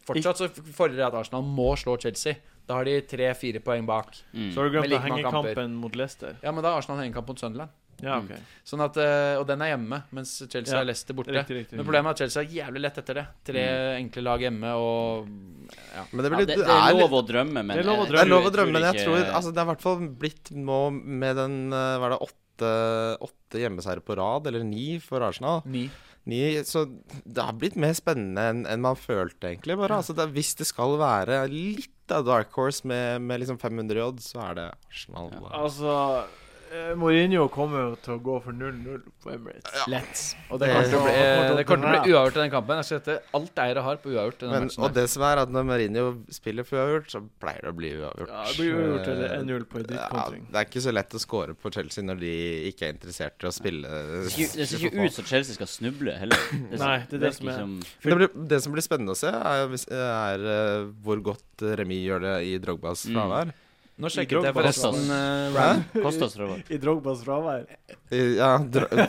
[SPEAKER 3] fortsatt så fordrer det at Arsenal må slå Chelsea. Da har de tre-fire poeng bak.
[SPEAKER 2] Mm.
[SPEAKER 1] Så har du glemt
[SPEAKER 3] Med
[SPEAKER 1] å
[SPEAKER 3] like mange
[SPEAKER 1] henge
[SPEAKER 3] kamper.
[SPEAKER 1] kampen mot Leicester.
[SPEAKER 3] Ja, men da har Arsenal hengekamp mot Sunderland.
[SPEAKER 1] Ja, ok.
[SPEAKER 4] Mm.
[SPEAKER 3] Sånn at, eh, og den er hjemme, mens Chelsea
[SPEAKER 1] Ja,
[SPEAKER 3] er Leicester borte.
[SPEAKER 1] Riktig, Mm. riktig.
[SPEAKER 3] Men problemet er at Chelsea er jævlig lett etter det. Tre enkle lag hjemme og ja.
[SPEAKER 4] Men det,
[SPEAKER 2] Ja,
[SPEAKER 4] blir,
[SPEAKER 2] det, det er
[SPEAKER 4] det litt-
[SPEAKER 2] lov å drømme, men
[SPEAKER 1] Det er lov å
[SPEAKER 2] jeg-
[SPEAKER 1] drømme.
[SPEAKER 4] Det er lov å
[SPEAKER 2] jeg
[SPEAKER 4] drømme, men jeg
[SPEAKER 2] ikke-
[SPEAKER 4] tror altså, Det er i hvert fall blitt nå med den eh, Hva er det, åtte, åtte hjemmeseiere på rad? Eller ni for Arsenal?
[SPEAKER 3] Ni.
[SPEAKER 4] Ni, så det har blitt mer spennende enn enn man følte, egentlig. Bare. Altså, det, er- hvis det skal være litt av dark horse med, med liksom 500 i odd, så er det Arsenal.
[SPEAKER 1] Altså eh, Mourinho kommer jo til å gå for 0-0 på Emirates.
[SPEAKER 3] Lett. Og det
[SPEAKER 4] Det-
[SPEAKER 3] kommer til å bli, eh, det kommer til å bli
[SPEAKER 1] Ja.
[SPEAKER 3] uavgjort i den kampen. Jeg skal sette alt eiere har på uavgjort. i denne
[SPEAKER 4] Men,
[SPEAKER 3] matchen
[SPEAKER 4] og
[SPEAKER 3] her.
[SPEAKER 4] det som er at når Mourinho spiller for uavgjort, så pleier det å bli uavgjort. Eh,
[SPEAKER 1] Ja, det blir uavgjort eller 1-0 på en
[SPEAKER 4] Ja,
[SPEAKER 1] drittkontring.
[SPEAKER 4] det er ikke så lett å score på Chelsea når de ikke er interessert i å spille
[SPEAKER 2] Det ser ikke- det ser ikke ut som Chelsea skal snuble
[SPEAKER 4] [laughs]
[SPEAKER 2] heller. ser-
[SPEAKER 1] Nei, det er det som
[SPEAKER 2] virker
[SPEAKER 1] er-
[SPEAKER 2] som-
[SPEAKER 4] Men Det, blir, det som blir spennende å se, er, jo hvis- er eh, hvor godt Remi gjør det i Drogbas
[SPEAKER 2] Mm.
[SPEAKER 4] fravær.
[SPEAKER 3] Nå sjekket
[SPEAKER 1] Drogba-
[SPEAKER 3] jeg forresten eh,
[SPEAKER 4] Hæ?
[SPEAKER 2] Kosta strømmer.
[SPEAKER 1] I Drogbas fravær.
[SPEAKER 4] Eh, Ja, dro
[SPEAKER 3] Men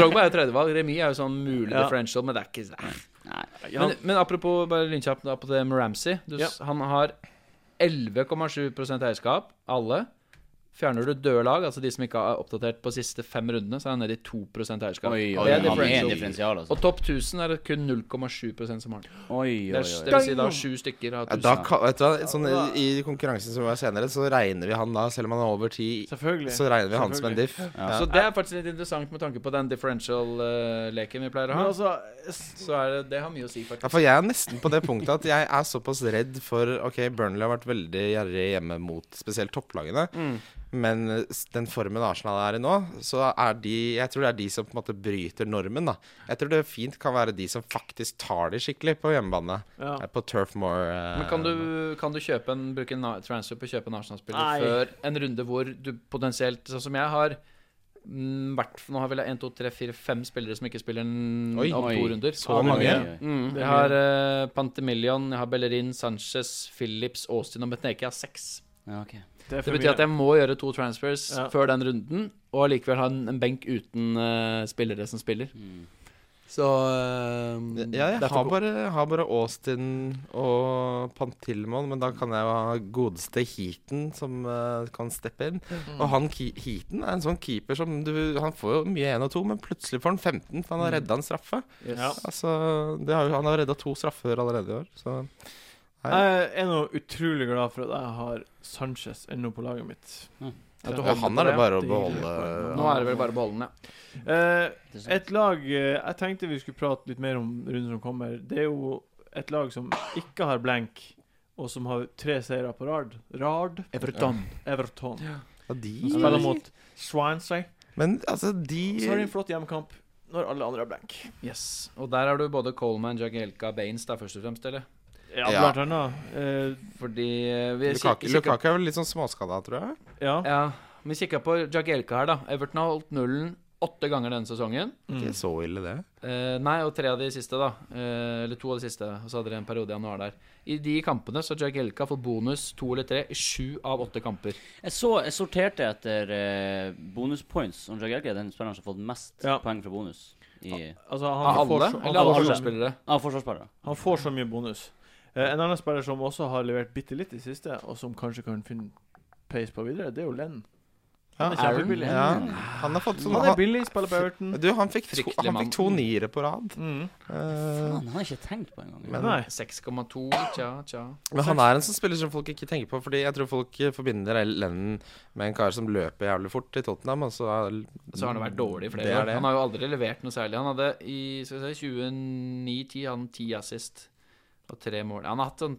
[SPEAKER 3] Drogba er jo tredjevalg. Remis er jo sånn mulig
[SPEAKER 1] Ja.
[SPEAKER 3] differential, men det er ikke nei.
[SPEAKER 2] Nei.
[SPEAKER 1] Ja,
[SPEAKER 3] Men, men apropos bare lynkjapt da på det med Ramsey. Du, s- Han har 11,7 eierskap, alle. Fjerner du døde lag, altså de som ikke er oppdatert på siste fem rundene, så er han nede i 2 eierskap.
[SPEAKER 2] Oi,
[SPEAKER 3] Og
[SPEAKER 2] oi,
[SPEAKER 3] det er
[SPEAKER 2] han er en
[SPEAKER 3] differential.
[SPEAKER 2] differensial, altså.
[SPEAKER 3] Og topp 1000 er det kun 0,7 som har den.
[SPEAKER 2] Oi, oi,
[SPEAKER 3] Det, er,
[SPEAKER 2] oi.
[SPEAKER 3] det vil si da sju stykker har
[SPEAKER 4] ja,
[SPEAKER 3] 1000.
[SPEAKER 4] da, kan- vet du hva, sånn, i, I konkurransen som var senere, så regner vi han da, selv om han er over ti,
[SPEAKER 1] selvfølgelig.
[SPEAKER 4] så regner vi han som en diff.
[SPEAKER 2] Ja.
[SPEAKER 3] Så det er faktisk litt interessant med tanke på den differential-leken vi pleier å
[SPEAKER 1] Men
[SPEAKER 3] ha.
[SPEAKER 1] altså s-
[SPEAKER 3] Så er det, det har mye å si,
[SPEAKER 4] Ja,
[SPEAKER 3] faktisk.
[SPEAKER 4] for jeg er nesten på det punktet at jeg er såpass redd for Ok, Burnley har vært veldig gjerrig hjemme mot spesielt topplagene.
[SPEAKER 1] Mm.
[SPEAKER 4] Men s- den formen Arsenal er i nå, så er de Jeg tror det er de som på en måte bryter normen, da. Jeg tror det fint kan være de som faktisk tar det skikkelig på hjemmebane.
[SPEAKER 1] ja.
[SPEAKER 4] Eh, På Turf Moor. eh,
[SPEAKER 3] Men kan du, kan du kjøpe en, bruke en na- transfer på å kjøpe en
[SPEAKER 1] Nei.
[SPEAKER 3] Arsenal-spiller før en runde hvor du potensielt Sånn som jeg har mm, vært Nå har vel jeg 1, 2, 3, 4, 5 spillere som ikke spiller en,
[SPEAKER 4] Oi.
[SPEAKER 3] om to
[SPEAKER 2] Oi.
[SPEAKER 3] runder.
[SPEAKER 4] Så
[SPEAKER 2] Oi,
[SPEAKER 4] mange.
[SPEAKER 2] oi, oi.
[SPEAKER 3] Mm,
[SPEAKER 1] Det er
[SPEAKER 3] jeg har uh, Pantemillion, jeg har Bellerin, Sanchez, Phillips, Austin og Betneke. Jeg har seks.
[SPEAKER 2] Ja, ok.
[SPEAKER 1] Det er
[SPEAKER 3] Det
[SPEAKER 1] for
[SPEAKER 3] betyr
[SPEAKER 1] mye.
[SPEAKER 3] at jeg må gjøre to transfers
[SPEAKER 1] Ja.
[SPEAKER 3] før den runden, og allikevel ha en, en benk uten eh, spillere som spiller.
[SPEAKER 2] Mm.
[SPEAKER 3] Så eh,
[SPEAKER 4] Ja, jeg
[SPEAKER 3] derfor-
[SPEAKER 4] har bare, har bare Austin og Pantilmon, men da kan jeg jo ha godeste Heaton som eh, kan steppe inn.
[SPEAKER 1] Mm.
[SPEAKER 4] Og han Ke- Heaton er en sånn keeper som du Han får jo mye 1 og 2, men plutselig får han 15, for han
[SPEAKER 1] Mm.
[SPEAKER 4] har redda en straffe.
[SPEAKER 1] Ja.
[SPEAKER 4] Altså, det har, jo- han har redda to straffer allerede i år, så
[SPEAKER 1] Jeg er nå utrolig glad for at jeg har Sanchez ennå på laget mitt.
[SPEAKER 2] Mm.
[SPEAKER 1] At
[SPEAKER 4] Ja,
[SPEAKER 1] du holder
[SPEAKER 4] han
[SPEAKER 1] på
[SPEAKER 4] er det bare å
[SPEAKER 1] Det er hyggelig.
[SPEAKER 4] beholde.
[SPEAKER 3] Nå er det vel bare beholdende.
[SPEAKER 1] Eh,
[SPEAKER 2] Det er sånn.
[SPEAKER 1] Et lag eh, Jeg tenkte vi skulle prate litt mer om runden som kommer. Det er jo et lag som ikke har blank, og som har tre seire på rad. Rad
[SPEAKER 3] Everton.
[SPEAKER 1] Everton.
[SPEAKER 4] Ja,
[SPEAKER 1] De spiller
[SPEAKER 4] de
[SPEAKER 1] mot Swansea.
[SPEAKER 4] Men altså,
[SPEAKER 1] Så har de
[SPEAKER 4] de
[SPEAKER 1] en flott hjemmekamp når alle andre har blank.
[SPEAKER 3] Yes. Og der har du både Coleman, Jagielka, Baines da, først og fremst, eller?
[SPEAKER 1] Ja,
[SPEAKER 4] Ja.
[SPEAKER 1] blant annet. Eh,
[SPEAKER 3] Fordi eh, vi
[SPEAKER 4] Lukaku,
[SPEAKER 3] kikket-
[SPEAKER 4] Lukaku er vel litt sånn småskada, tror jeg.
[SPEAKER 1] ja.
[SPEAKER 3] Ja, vi kikka på Jagielka her, da. Everton har holdt nullen åtte ganger denne sesongen.
[SPEAKER 1] Mm.
[SPEAKER 4] Ikke så ille, det.
[SPEAKER 3] Eh, nei, og tre av de siste, da. Eh, eller to av de siste. Og så hadde dere en periode i januar der. I de kampene så har Jagielka fått bonus to eller tre i sju av åtte kamper.
[SPEAKER 2] Jeg, så, jeg sorterte etter eh, bonuspoints. Og Jagielka er den spilleren som har fått mest
[SPEAKER 1] Ja.
[SPEAKER 2] poeng fra bonus i,
[SPEAKER 1] Altså, han,
[SPEAKER 3] Av
[SPEAKER 1] får,
[SPEAKER 3] alle?
[SPEAKER 1] så-
[SPEAKER 3] Eller
[SPEAKER 1] han,
[SPEAKER 3] alle
[SPEAKER 1] får, så-
[SPEAKER 3] forsvarsspillere?
[SPEAKER 2] av forsvarsspillere.
[SPEAKER 1] han får så mye bonus. Eh, en annen spiller som også har levert bitte litt i siste, og som kanskje kan finne peis på videre, det er jo Lenn. Han er
[SPEAKER 4] Ja,
[SPEAKER 3] Aaron,
[SPEAKER 1] kjempebillig.
[SPEAKER 4] ja. Han har fått sånn
[SPEAKER 1] Han er billig, spiller på Everton.
[SPEAKER 4] Du, han fikk, to,
[SPEAKER 3] Fryktelig
[SPEAKER 4] han fikk to
[SPEAKER 3] mann.
[SPEAKER 4] niere på rad.
[SPEAKER 1] Mm.
[SPEAKER 4] Eh,
[SPEAKER 2] Faen, han har jeg ikke tenkt på engang.
[SPEAKER 4] Men-
[SPEAKER 1] Nei.
[SPEAKER 3] 6,2, tja, tja.
[SPEAKER 4] men han er en sånn spiller som folk ikke tenker på, Fordi jeg tror folk eh, forbinder Lennon med en kar som løper jævlig fort i Tottenham, og så er,
[SPEAKER 3] Så har han vært dårlig i
[SPEAKER 4] Det
[SPEAKER 3] flere
[SPEAKER 4] er
[SPEAKER 3] år.
[SPEAKER 4] det.
[SPEAKER 3] Han har jo aldri levert noe særlig. Han hadde i skal vi si, 29-10 han 10 assist og tre mål. Han har hatt sånn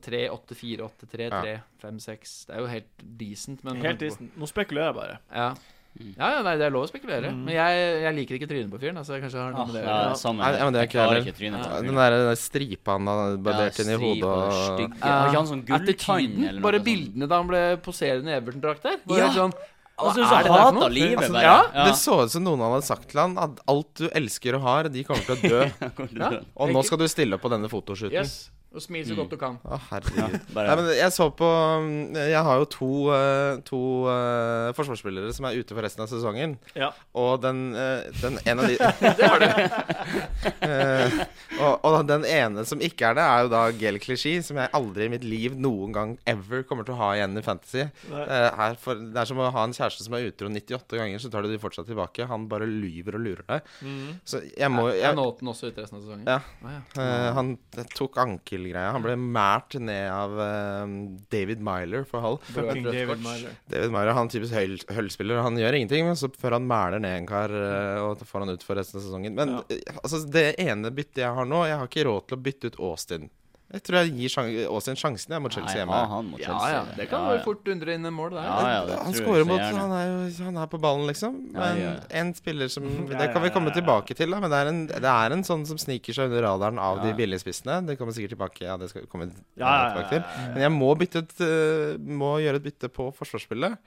[SPEAKER 3] 3-8-4-8-3-3, 5-6. Det er jo helt decent. Men
[SPEAKER 1] Helt isen. Nå spekulerer jeg bare.
[SPEAKER 3] Ja.
[SPEAKER 2] Mm.
[SPEAKER 3] ja, ja, nei, det er lov å spekulere.
[SPEAKER 1] Mm.
[SPEAKER 3] Men jeg, jeg liker ikke trynet på fyren. Altså, jeg kanskje har noe
[SPEAKER 2] Ah,
[SPEAKER 3] med det å
[SPEAKER 2] ja,
[SPEAKER 3] gjøre.
[SPEAKER 2] samme
[SPEAKER 4] Nei,
[SPEAKER 2] her.
[SPEAKER 4] men det er
[SPEAKER 2] Jeg
[SPEAKER 4] ikke
[SPEAKER 2] klarer
[SPEAKER 4] heller.
[SPEAKER 2] ikke trynet til
[SPEAKER 4] Ja,
[SPEAKER 2] han.
[SPEAKER 4] Den der, den der stripa han har barbert
[SPEAKER 2] Ja,
[SPEAKER 4] inn i
[SPEAKER 2] stri på
[SPEAKER 4] hodet
[SPEAKER 2] det
[SPEAKER 4] og
[SPEAKER 2] stygge. Har ikke han sånn gulltann
[SPEAKER 3] Eh, Attituden,
[SPEAKER 2] eller noe?
[SPEAKER 3] bare
[SPEAKER 2] sånt?
[SPEAKER 3] bildene da han ble poserende i Everton-drakt der. var
[SPEAKER 2] Ja.
[SPEAKER 3] helt Sånn, hva
[SPEAKER 2] Han synes
[SPEAKER 3] er
[SPEAKER 2] han
[SPEAKER 3] det der for
[SPEAKER 2] hater
[SPEAKER 3] noe?
[SPEAKER 2] livet,
[SPEAKER 3] Altså,
[SPEAKER 2] bare.
[SPEAKER 3] Ja,
[SPEAKER 2] Ja.
[SPEAKER 4] Det så ut som noen hadde sagt til han at alt du elsker og har, de kommer til å dø.
[SPEAKER 3] [laughs]
[SPEAKER 2] Hvor du-
[SPEAKER 3] Ja.
[SPEAKER 4] Og nå skal du stille opp på denne fotoshooten.
[SPEAKER 3] Yes. Og smil så
[SPEAKER 2] Mm.
[SPEAKER 3] godt du kan.
[SPEAKER 4] Å, herregud. Nei,
[SPEAKER 2] Bare
[SPEAKER 4] men jeg så på um, Jeg har jo to, eh, to eh, forsvarsspillere som er ute for resten av sesongen.
[SPEAKER 1] Ja.
[SPEAKER 4] Og den, eh, den ene av de [laughs] Det har du! Eh, og, og den ene som ikke er det, er jo da Gel Clichy, som jeg aldri i mitt liv noen gang ever kommer til å ha igjen i Fantasy.
[SPEAKER 1] Nei.
[SPEAKER 4] Eh, her for, det er som å ha en kjæreste som er utro 98 ganger, så tar du de fortsatt tilbake. Han bare lyver og lurer deg.
[SPEAKER 1] Mhm.
[SPEAKER 4] Så jeg må
[SPEAKER 3] Jeg
[SPEAKER 4] jeg,
[SPEAKER 3] nådde den også ut resten av sesongen.
[SPEAKER 4] Ja.
[SPEAKER 3] Å, ja.
[SPEAKER 4] Eh, han tok ankelgreia. Han ble mært ned av eh, David Miler for Hull.
[SPEAKER 3] Burde vært
[SPEAKER 1] Fucking
[SPEAKER 3] rødt
[SPEAKER 1] David
[SPEAKER 3] kort.
[SPEAKER 1] Myler.
[SPEAKER 4] David Miler han er typisk høl- høllspiller. Han gjør ingenting, men så før han mæler ned en kar eh, og da får han ut for resten av sesongen. Men
[SPEAKER 1] Ja.
[SPEAKER 4] eh, altså, det ene byttet jeg har nå Jeg har ikke råd til å bytte ut Austin. Jeg tror jeg gir sjan Austin sjansen jeg mot
[SPEAKER 2] Nei,
[SPEAKER 4] Chelsea hjemme.
[SPEAKER 2] ha han mot
[SPEAKER 3] ja
[SPEAKER 2] Chelsea.
[SPEAKER 3] ja, det kan
[SPEAKER 2] Ja,
[SPEAKER 3] jo
[SPEAKER 2] ja.
[SPEAKER 3] fort undre inn en mål der.
[SPEAKER 2] Ja, ja, det
[SPEAKER 4] han
[SPEAKER 2] tror
[SPEAKER 4] scorer
[SPEAKER 2] jeg så
[SPEAKER 4] mot
[SPEAKER 2] gjerne.
[SPEAKER 4] han er, jo, han er på ballen, liksom. Men
[SPEAKER 2] Ja, ja.
[SPEAKER 4] en spiller som
[SPEAKER 1] Ja,
[SPEAKER 4] Det kan vi
[SPEAKER 1] ja,
[SPEAKER 4] komme
[SPEAKER 1] ja, ja.
[SPEAKER 4] tilbake til, da. Men det er en, det er en sånn som sniker seg under radaren av
[SPEAKER 2] Ja, ja.
[SPEAKER 4] de billigspissene. Det kommer sikkert tilbake. Ja, det skal vi komme
[SPEAKER 1] Ja, ja, ja,
[SPEAKER 4] tilbake til.
[SPEAKER 1] ja, ja.
[SPEAKER 4] Men jeg må, bytte et, eh, må gjøre et bytte på forsvarsspillet.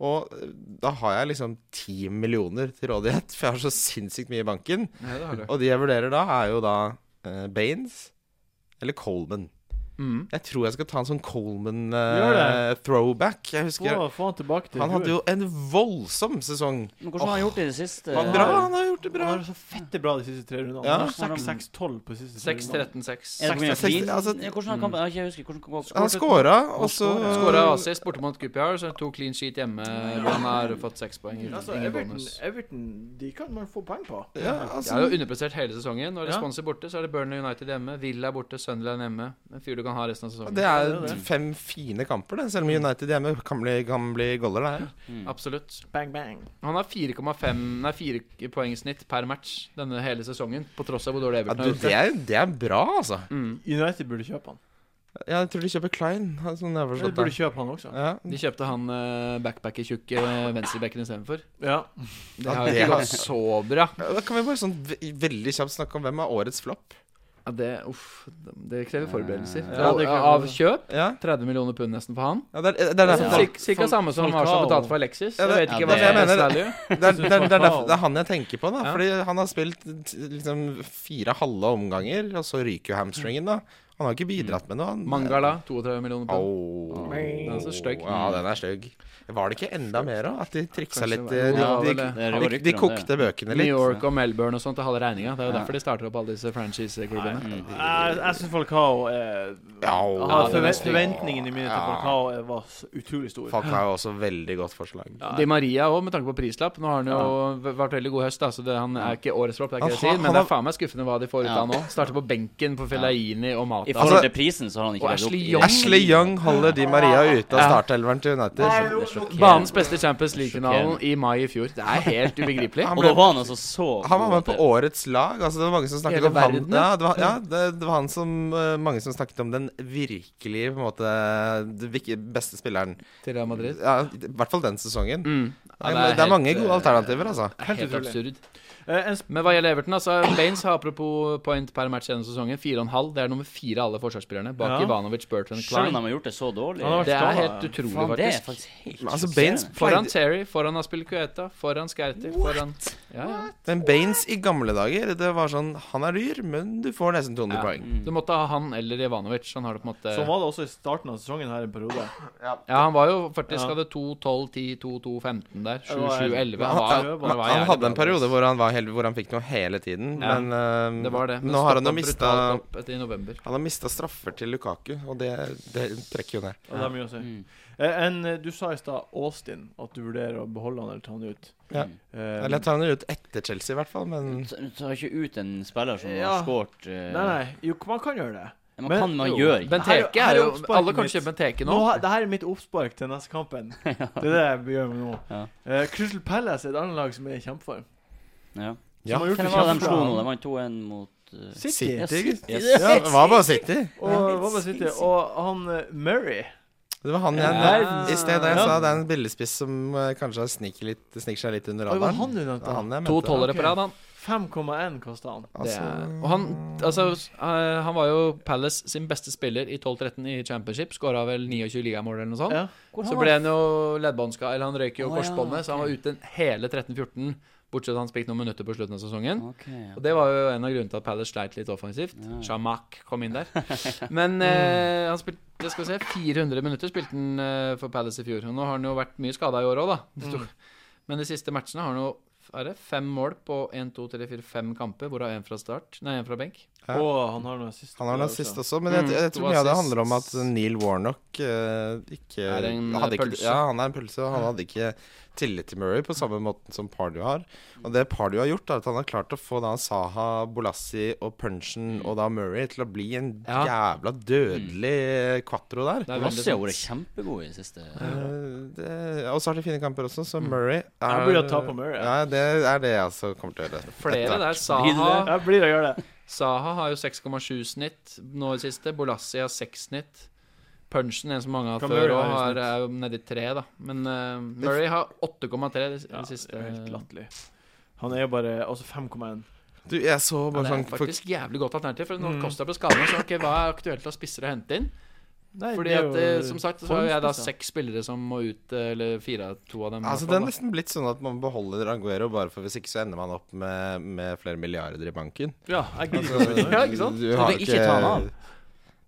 [SPEAKER 4] Og eh, da har jeg liksom ti millioner til rådighet, for jeg har så sinnssykt mye i banken.
[SPEAKER 3] Ja, det har du.
[SPEAKER 4] Og de jeg vurderer da, er jo da eh, Baines eller Coleman.
[SPEAKER 3] Mm.
[SPEAKER 4] Jeg tror jeg skal ta en sånn
[SPEAKER 1] Gjør
[SPEAKER 4] Coleman-throwback. jeg husker
[SPEAKER 1] Få, få han tilbake til
[SPEAKER 4] Han hadde jo en voldsom sesong.
[SPEAKER 2] Men hvordan har han gjort det i det siste?
[SPEAKER 4] Han,
[SPEAKER 1] Ja.
[SPEAKER 4] bra, han har gjort det
[SPEAKER 1] Han
[SPEAKER 4] bra.
[SPEAKER 1] har så fette bra de siste tre rundene.
[SPEAKER 4] Ja.
[SPEAKER 1] Han har 6-6-12 på de siste tre rundene.
[SPEAKER 3] 6-13-6.
[SPEAKER 2] Er det hvor mye
[SPEAKER 4] Seks-
[SPEAKER 2] flin?
[SPEAKER 4] altså-
[SPEAKER 2] Ja, Hvordan har kampen Jeg ikke husker hvordan hvordan-
[SPEAKER 4] Han scora, og så
[SPEAKER 3] Skåra
[SPEAKER 4] altså.
[SPEAKER 3] assist borte mot Gupiar, så er det to clean sheet hjemme. hvor Han har fått seks poeng.
[SPEAKER 1] Altså,
[SPEAKER 3] ingen
[SPEAKER 1] Everton,
[SPEAKER 3] bonus.
[SPEAKER 1] Everton, de kan man få poeng på.
[SPEAKER 4] Ja,
[SPEAKER 3] Jeg har jo
[SPEAKER 4] altså
[SPEAKER 3] underprestert hele sesongen. Når
[SPEAKER 1] Ja.
[SPEAKER 3] Respons er borte, så er det Burnley United hjemme. Villa er borte, Sunderland hjemme. En fyr du kan ha resten av sesongen.
[SPEAKER 4] Det
[SPEAKER 1] Det er
[SPEAKER 4] er
[SPEAKER 1] det.
[SPEAKER 4] fem fine kamper, det. Selv om United hjemme kan bli, kan bli goller, det her.
[SPEAKER 2] Mm.
[SPEAKER 3] Absolutt.
[SPEAKER 1] Bang, bang.
[SPEAKER 3] Han har 4,5 Nei, 4 poeng i snitt per match denne hele sesongen, på tross av hvor dårlig
[SPEAKER 4] Ja,
[SPEAKER 3] Everton
[SPEAKER 4] du,
[SPEAKER 3] har gjort
[SPEAKER 4] det,
[SPEAKER 3] det.
[SPEAKER 4] er, det er bra, altså.
[SPEAKER 3] Mm.
[SPEAKER 1] United burde kjøpe han.
[SPEAKER 4] Ja, jeg tror de kjøper Klein. har- Sånn jeg har
[SPEAKER 1] De
[SPEAKER 4] forstått
[SPEAKER 1] burde
[SPEAKER 4] det.
[SPEAKER 1] kjøpe han også.
[SPEAKER 4] Ja.
[SPEAKER 3] De kjøpte han eh, backpacker-tjukke venstrebacken istedenfor.
[SPEAKER 1] Ja.
[SPEAKER 3] Det
[SPEAKER 4] Ja,
[SPEAKER 3] har jo
[SPEAKER 4] det
[SPEAKER 3] ikke
[SPEAKER 4] har-
[SPEAKER 3] gått så bra.
[SPEAKER 4] Ja, Da kan vi bare sånn ve- veldig kjapt snakke om hvem er årets flopp.
[SPEAKER 3] Ja, det, uff, det krever forberedelser.
[SPEAKER 1] Ja, det krever-
[SPEAKER 3] av kjøp
[SPEAKER 4] Ja,
[SPEAKER 3] 30 millioner pund nesten for han.
[SPEAKER 4] ja det, er, sånn det, er derfor,
[SPEAKER 1] Ja.
[SPEAKER 4] folk-
[SPEAKER 3] Cir- Cirka samme som
[SPEAKER 1] Falcao.
[SPEAKER 3] Arsenal betalte for Alexis.
[SPEAKER 4] Ja,
[SPEAKER 3] Jeg
[SPEAKER 4] det-
[SPEAKER 3] vet ikke
[SPEAKER 2] ja,
[SPEAKER 3] hva
[SPEAKER 2] det-
[SPEAKER 3] som er
[SPEAKER 4] jeg mener-
[SPEAKER 3] value.
[SPEAKER 4] det, er, sånn- det, er, det, er derfor, det er han jeg tenker på, da.
[SPEAKER 3] Ja.
[SPEAKER 4] Fordi han har spilt t- liksom fire halve omganger, og så ryker jo hamstringen, da. Han har ikke bidratt med noe. Han,
[SPEAKER 3] Mangala 32 millioner pund.
[SPEAKER 4] Au.
[SPEAKER 1] Den
[SPEAKER 3] er så stygg.
[SPEAKER 4] Ja, den er stygg. Var det ikke enda mer òg? At de triksa
[SPEAKER 3] Kanskje
[SPEAKER 4] litt eh,
[SPEAKER 3] det var-
[SPEAKER 4] De, de,
[SPEAKER 3] Ja,
[SPEAKER 4] de,
[SPEAKER 3] vel,
[SPEAKER 2] det- det var
[SPEAKER 4] de, de
[SPEAKER 2] rykter om det.
[SPEAKER 4] kokte bøkene
[SPEAKER 3] New
[SPEAKER 4] litt.
[SPEAKER 3] York og Melbourne og sånt til halve regninga. Det er jo
[SPEAKER 2] Ja.
[SPEAKER 3] derfor de starter opp alle disse franchise-klubbene.
[SPEAKER 2] Mm.
[SPEAKER 1] Jeg, jeg syns Falcao er Han
[SPEAKER 4] Au.
[SPEAKER 3] Ja,
[SPEAKER 1] har
[SPEAKER 3] det er
[SPEAKER 1] forvent-
[SPEAKER 3] stygt.
[SPEAKER 1] Forventningene mine til
[SPEAKER 4] Ja.
[SPEAKER 1] Falcao er- var så utrolig store.
[SPEAKER 4] Falk har jo også veldig godt forslag.
[SPEAKER 3] Di Maria òg, med tanke på prislapp. Nå har han jo v- vært veldig god høst, da, så det, han er ikke årets flopp, det er ikke det jeg
[SPEAKER 4] Han-
[SPEAKER 3] sier.
[SPEAKER 4] han-
[SPEAKER 3] Men det
[SPEAKER 4] han-
[SPEAKER 3] er faen meg skuffende hva de får ut av han nå. Starter på benken for Fellaini og
[SPEAKER 2] I
[SPEAKER 3] Mata.
[SPEAKER 2] forhold
[SPEAKER 4] Altså-
[SPEAKER 2] til prisen så har han ikke
[SPEAKER 3] Og
[SPEAKER 2] levd opp
[SPEAKER 3] Ashley
[SPEAKER 2] i-
[SPEAKER 3] Young.
[SPEAKER 4] Ashley Young holder Di Maria ute av
[SPEAKER 3] Ja.
[SPEAKER 4] startelveren til United.
[SPEAKER 2] Det er sjokkerende.
[SPEAKER 3] Banens beste Champions League-finalen i mai i fjor. Det er helt ubegripelig.
[SPEAKER 4] Han
[SPEAKER 2] Og
[SPEAKER 4] ble-
[SPEAKER 2] da var han altså så
[SPEAKER 4] Han var med på
[SPEAKER 2] god at det-
[SPEAKER 4] årets lag. Altså, det var mange som snakket
[SPEAKER 3] Hele
[SPEAKER 4] om han
[SPEAKER 3] verden,
[SPEAKER 4] ja, det, var, ja, det, det var han som eh, mange som snakket om den virkelige på en måte, det virke- beste spilleren.
[SPEAKER 3] Til Real Madrid.
[SPEAKER 4] Ja, I hvert fall den sesongen.
[SPEAKER 3] Mm. Ja,
[SPEAKER 4] det, er, det er
[SPEAKER 3] helt,
[SPEAKER 4] mange
[SPEAKER 3] eh,
[SPEAKER 4] gode alternativer, altså.
[SPEAKER 3] det er Helt
[SPEAKER 1] utrolig.
[SPEAKER 3] absurd.
[SPEAKER 1] Eh, en sp-
[SPEAKER 3] Men hva gjelder Everton, altså Baines har apropos point per match denne sesongen. 4,5. Det er nummer fire av alle forsvarsspillerne, bak
[SPEAKER 1] Ja.
[SPEAKER 3] Ivanovic, Bertrand
[SPEAKER 2] Selv om
[SPEAKER 3] Klein.
[SPEAKER 2] de har gjort det så dårlig.
[SPEAKER 1] Han har vært
[SPEAKER 3] Det er
[SPEAKER 1] skada.
[SPEAKER 3] helt utrolig,
[SPEAKER 2] Faen, det er
[SPEAKER 3] faktisk.
[SPEAKER 2] faktisk helt
[SPEAKER 4] Men altså,
[SPEAKER 2] sjokkerende.
[SPEAKER 4] Baines-
[SPEAKER 3] eh, Foran Terry, foran Aspil Kueta, foran Skerti, foran ja, ja.
[SPEAKER 4] Men Baines i gamle dager, det var sånn Han er dyr, men du får nesten 200
[SPEAKER 3] Ja.
[SPEAKER 4] poeng.
[SPEAKER 2] Mm.
[SPEAKER 3] Du måtte ha han eller Ivanovic. Han har det på en måte
[SPEAKER 1] Sånn var det også i starten av sesongen her en periode.
[SPEAKER 3] Ja, han var jo faktisk
[SPEAKER 1] Ja.
[SPEAKER 3] hadde 2-12-10-2-2-15 der.
[SPEAKER 1] Det var helt-
[SPEAKER 3] 7-7-11.
[SPEAKER 4] Han,
[SPEAKER 3] Han var,
[SPEAKER 1] han-
[SPEAKER 3] var
[SPEAKER 4] han
[SPEAKER 3] jævlig
[SPEAKER 4] hadde en
[SPEAKER 3] bra.
[SPEAKER 4] periode hvor han, var helt, hvor han fikk noe hele tiden,
[SPEAKER 3] Ja,
[SPEAKER 4] men eh,
[SPEAKER 3] Det var det. Men
[SPEAKER 4] nå har han jo
[SPEAKER 3] stoppet
[SPEAKER 4] mista
[SPEAKER 3] brutalt opp etter i november.
[SPEAKER 4] Han har mista straffer til Lukaku, og det, det trekker jo ned.
[SPEAKER 1] Og det er mye å si.
[SPEAKER 2] Mm.
[SPEAKER 1] Eh, en, eh, du sa i stad Austin, at du vurderer å beholde han eller ta han ut.
[SPEAKER 4] Ja.
[SPEAKER 1] Eh,
[SPEAKER 4] Eller jeg tar han ut etter Chelsea, i hvert fall, men
[SPEAKER 2] Så- Du tar ikke ut en spiller som
[SPEAKER 1] Ja.
[SPEAKER 2] har skåret eh,
[SPEAKER 1] nei, nei. Jo, man kan gjøre det. Men-
[SPEAKER 2] Men man kan, man
[SPEAKER 3] Jo,
[SPEAKER 2] gjør ikke
[SPEAKER 3] Benteke
[SPEAKER 1] Her er-
[SPEAKER 3] er
[SPEAKER 1] her er
[SPEAKER 3] jo
[SPEAKER 1] oppsparket
[SPEAKER 3] Alle kan
[SPEAKER 1] mitt.
[SPEAKER 3] kjøpe Benteke nå.
[SPEAKER 1] Nå, har- det her er mitt oppspark til neste kampen. Det er det vi gjør med nå.
[SPEAKER 2] Ja.
[SPEAKER 1] Eh, Crystal Palace er et annet lag som er i kjempeform.
[SPEAKER 2] ja.
[SPEAKER 4] Ja.
[SPEAKER 1] Som har gjort
[SPEAKER 2] Hvem
[SPEAKER 1] det
[SPEAKER 2] var det de
[SPEAKER 1] kjempebra.
[SPEAKER 2] slo nå? De vant 2-1 mot eh,
[SPEAKER 1] City.
[SPEAKER 2] Ja,
[SPEAKER 4] City, gutt.
[SPEAKER 2] Yes.
[SPEAKER 4] Ja, det var bare City.
[SPEAKER 1] Og, hva var City? og han eh, Murray
[SPEAKER 4] Det var han jeg
[SPEAKER 1] Ja.
[SPEAKER 4] I sted da jeg
[SPEAKER 1] Ja.
[SPEAKER 4] sa det er en billedspiss som eh, kanskje sniker, litt, sniker seg litt under
[SPEAKER 1] Oi, var det
[SPEAKER 4] radaren.
[SPEAKER 1] han du
[SPEAKER 4] Det var
[SPEAKER 1] nevnte?
[SPEAKER 4] han jeg
[SPEAKER 3] To
[SPEAKER 4] mente.
[SPEAKER 3] tollere
[SPEAKER 1] ok.
[SPEAKER 3] på rad, han.
[SPEAKER 1] 5,1 kosta han.
[SPEAKER 3] Det
[SPEAKER 4] Altså,
[SPEAKER 3] er, og han, altså, s- eh, han var jo Palace sin beste spiller i 12-13 i Championship. Skåra vel 29 ligamål eller noe sånt.
[SPEAKER 1] Ja.
[SPEAKER 2] Hvor
[SPEAKER 3] Så
[SPEAKER 2] har
[SPEAKER 3] ble han jo leddbåndska, eller han røyk jo
[SPEAKER 2] Å, ja,
[SPEAKER 3] korsbåndet, så han var
[SPEAKER 2] ok.
[SPEAKER 3] ute hele 13-14. Bortsett at han spilte noen minutter på slutten av sesongen.
[SPEAKER 2] Ok,
[SPEAKER 3] Og Det var jo en av grunnene til at Palace sleit litt offensivt.
[SPEAKER 2] Ja. Mm.
[SPEAKER 3] Shamak
[SPEAKER 2] [laughs]
[SPEAKER 3] kom inn der. Men eh, han spilte skal vi se, 400 minutter spilte han eh, for Palace i fjor. Og nå har han jo vært mye skada i år òg, da. Det
[SPEAKER 2] Mm.
[SPEAKER 3] sto- Men de siste matchene har han jo er det fem mål på 1, 2, 3, 4, 5 kamper, hvorav én fra start. Nei, én fra benk.
[SPEAKER 4] Ja.
[SPEAKER 1] Og han har noe sist.
[SPEAKER 4] Han har den sist også, men jeg,
[SPEAKER 3] Mm.
[SPEAKER 4] jeg,
[SPEAKER 3] To
[SPEAKER 4] tror mye av det
[SPEAKER 3] assist.
[SPEAKER 4] handler om at Neil Warnock eh, ikke
[SPEAKER 3] Er en,
[SPEAKER 4] hadde
[SPEAKER 3] eh,
[SPEAKER 4] ikke,
[SPEAKER 3] pølse.
[SPEAKER 4] Ja, han er en pølse, og han hadde ikke tillit til Murray på samme måten som Pardew har. Og det Pardew har gjort, er at han har klart å få da Saha, Bolassi og Punchen og da Murray til å bli en
[SPEAKER 3] Ja. Mm.
[SPEAKER 4] jævla dødelig eh, quattro der.
[SPEAKER 3] Det er veldig sånn
[SPEAKER 2] Lasse har vært
[SPEAKER 3] sant.
[SPEAKER 2] kjempegod i det siste.
[SPEAKER 4] Eh, det, og så har de fine kamper også,
[SPEAKER 3] Mm.
[SPEAKER 4] så Murray er,
[SPEAKER 1] Jeg blir å ta på Murray,
[SPEAKER 4] Ja, det er det jeg altså kommer til å gjøre.
[SPEAKER 3] Flere der.
[SPEAKER 1] Blir det det?
[SPEAKER 3] Saha,
[SPEAKER 1] Jeg blir å gjøre det.
[SPEAKER 3] Saha har jo 6,7 snitt nå i det siste. Bolassi har 6 snitt. Punchen, en som mange har
[SPEAKER 1] Kan
[SPEAKER 3] hatt før,
[SPEAKER 1] Murray
[SPEAKER 3] og
[SPEAKER 1] ha i
[SPEAKER 3] har- er jo nedi 3, da. Men eh, Murray har 8,3 det, det
[SPEAKER 1] Ja,
[SPEAKER 3] siste.
[SPEAKER 1] det er helt latterlig. Han er jo bare Altså 5,1.
[SPEAKER 4] Du, jeg så
[SPEAKER 3] Ja,
[SPEAKER 4] bare
[SPEAKER 3] det er
[SPEAKER 4] sånn for,
[SPEAKER 3] faktisk jævlig godt alternativ. For når
[SPEAKER 1] Mm.
[SPEAKER 3] Costa ble skadet, så ok, hva er aktuelt av spisser å hente inn?
[SPEAKER 1] Nei,
[SPEAKER 3] Fordi
[SPEAKER 1] det er
[SPEAKER 3] at,
[SPEAKER 1] jo
[SPEAKER 3] eh, som sagt, så har jeg da
[SPEAKER 1] formspisser.
[SPEAKER 3] seks spillere som må ut, eh, eller fire av to av dem. i hvert
[SPEAKER 4] Altså Det
[SPEAKER 3] fall,
[SPEAKER 4] er
[SPEAKER 3] da.
[SPEAKER 4] nesten blitt sånn at man beholder Anguero, bare for hvis ikke så ender man opp med, med flere milliarder i banken.
[SPEAKER 1] Ja, jeg
[SPEAKER 4] Altså,
[SPEAKER 1] gidder ikke å spille.
[SPEAKER 3] Ja, ikke sant?
[SPEAKER 4] Du
[SPEAKER 2] Så
[SPEAKER 4] har
[SPEAKER 2] det er ikke ta han av.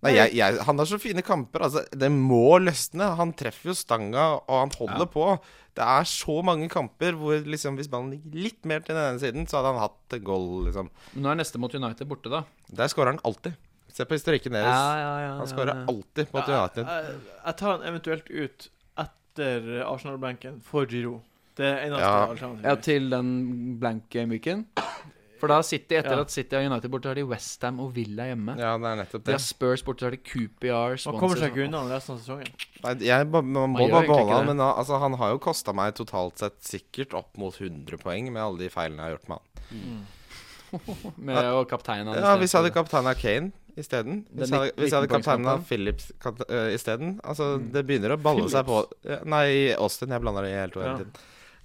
[SPEAKER 4] Nei, jeg, jeg, han har så fine kamper. Altså, det må løsne. Han treffer jo stanga, og han holder på. Det er så mange kamper hvor liksom, hvis ballen gikk litt mer til den ene siden, så hadde han hatt et goal, liksom.
[SPEAKER 3] Men Nå er neste mot United borte, da.
[SPEAKER 4] Der skårer han alltid. Se på historikken deres. han skårer alltid på
[SPEAKER 1] Ja,
[SPEAKER 4] United.
[SPEAKER 1] jeg, jeg tar han eventuelt ut etter Arsenal-benken for Giro. Det er eneste
[SPEAKER 3] Ja,
[SPEAKER 4] Ja.
[SPEAKER 1] alternativet.
[SPEAKER 3] til den blank-myken. For da City, etter
[SPEAKER 1] Ja.
[SPEAKER 3] at City og United borte, har de Westham og Villa hjemme.
[SPEAKER 4] Ja, det er nettopp
[SPEAKER 3] De
[SPEAKER 4] det.
[SPEAKER 3] har Spurs borte, så har de QPR,
[SPEAKER 1] Man kommer seg ikke
[SPEAKER 3] Swansea
[SPEAKER 1] unna resten av sesongen.
[SPEAKER 4] Nei, jeg, ba- man må
[SPEAKER 3] gjør
[SPEAKER 4] bare
[SPEAKER 3] egentlig
[SPEAKER 4] beholde
[SPEAKER 3] ikke
[SPEAKER 4] han,
[SPEAKER 3] det.
[SPEAKER 4] men da- altså, han har jo kosta meg totalt sett sikkert opp mot 100 poeng med alle de feilene jeg har gjort med han.
[SPEAKER 3] med og kapteinen hans.
[SPEAKER 4] Ja, Hvis jeg hadde kapteina Kane isteden.
[SPEAKER 3] Den
[SPEAKER 4] Hvis jeg hadde-
[SPEAKER 3] nitt-
[SPEAKER 4] hvis jeg hadde kapteina
[SPEAKER 3] 19-poengskampen.
[SPEAKER 4] Phillips kat- øh, isteden. Altså, det begynner å balle seg på Ja, Nei, Austin. Jeg blander det helt
[SPEAKER 1] Ja.
[SPEAKER 4] hele tiden.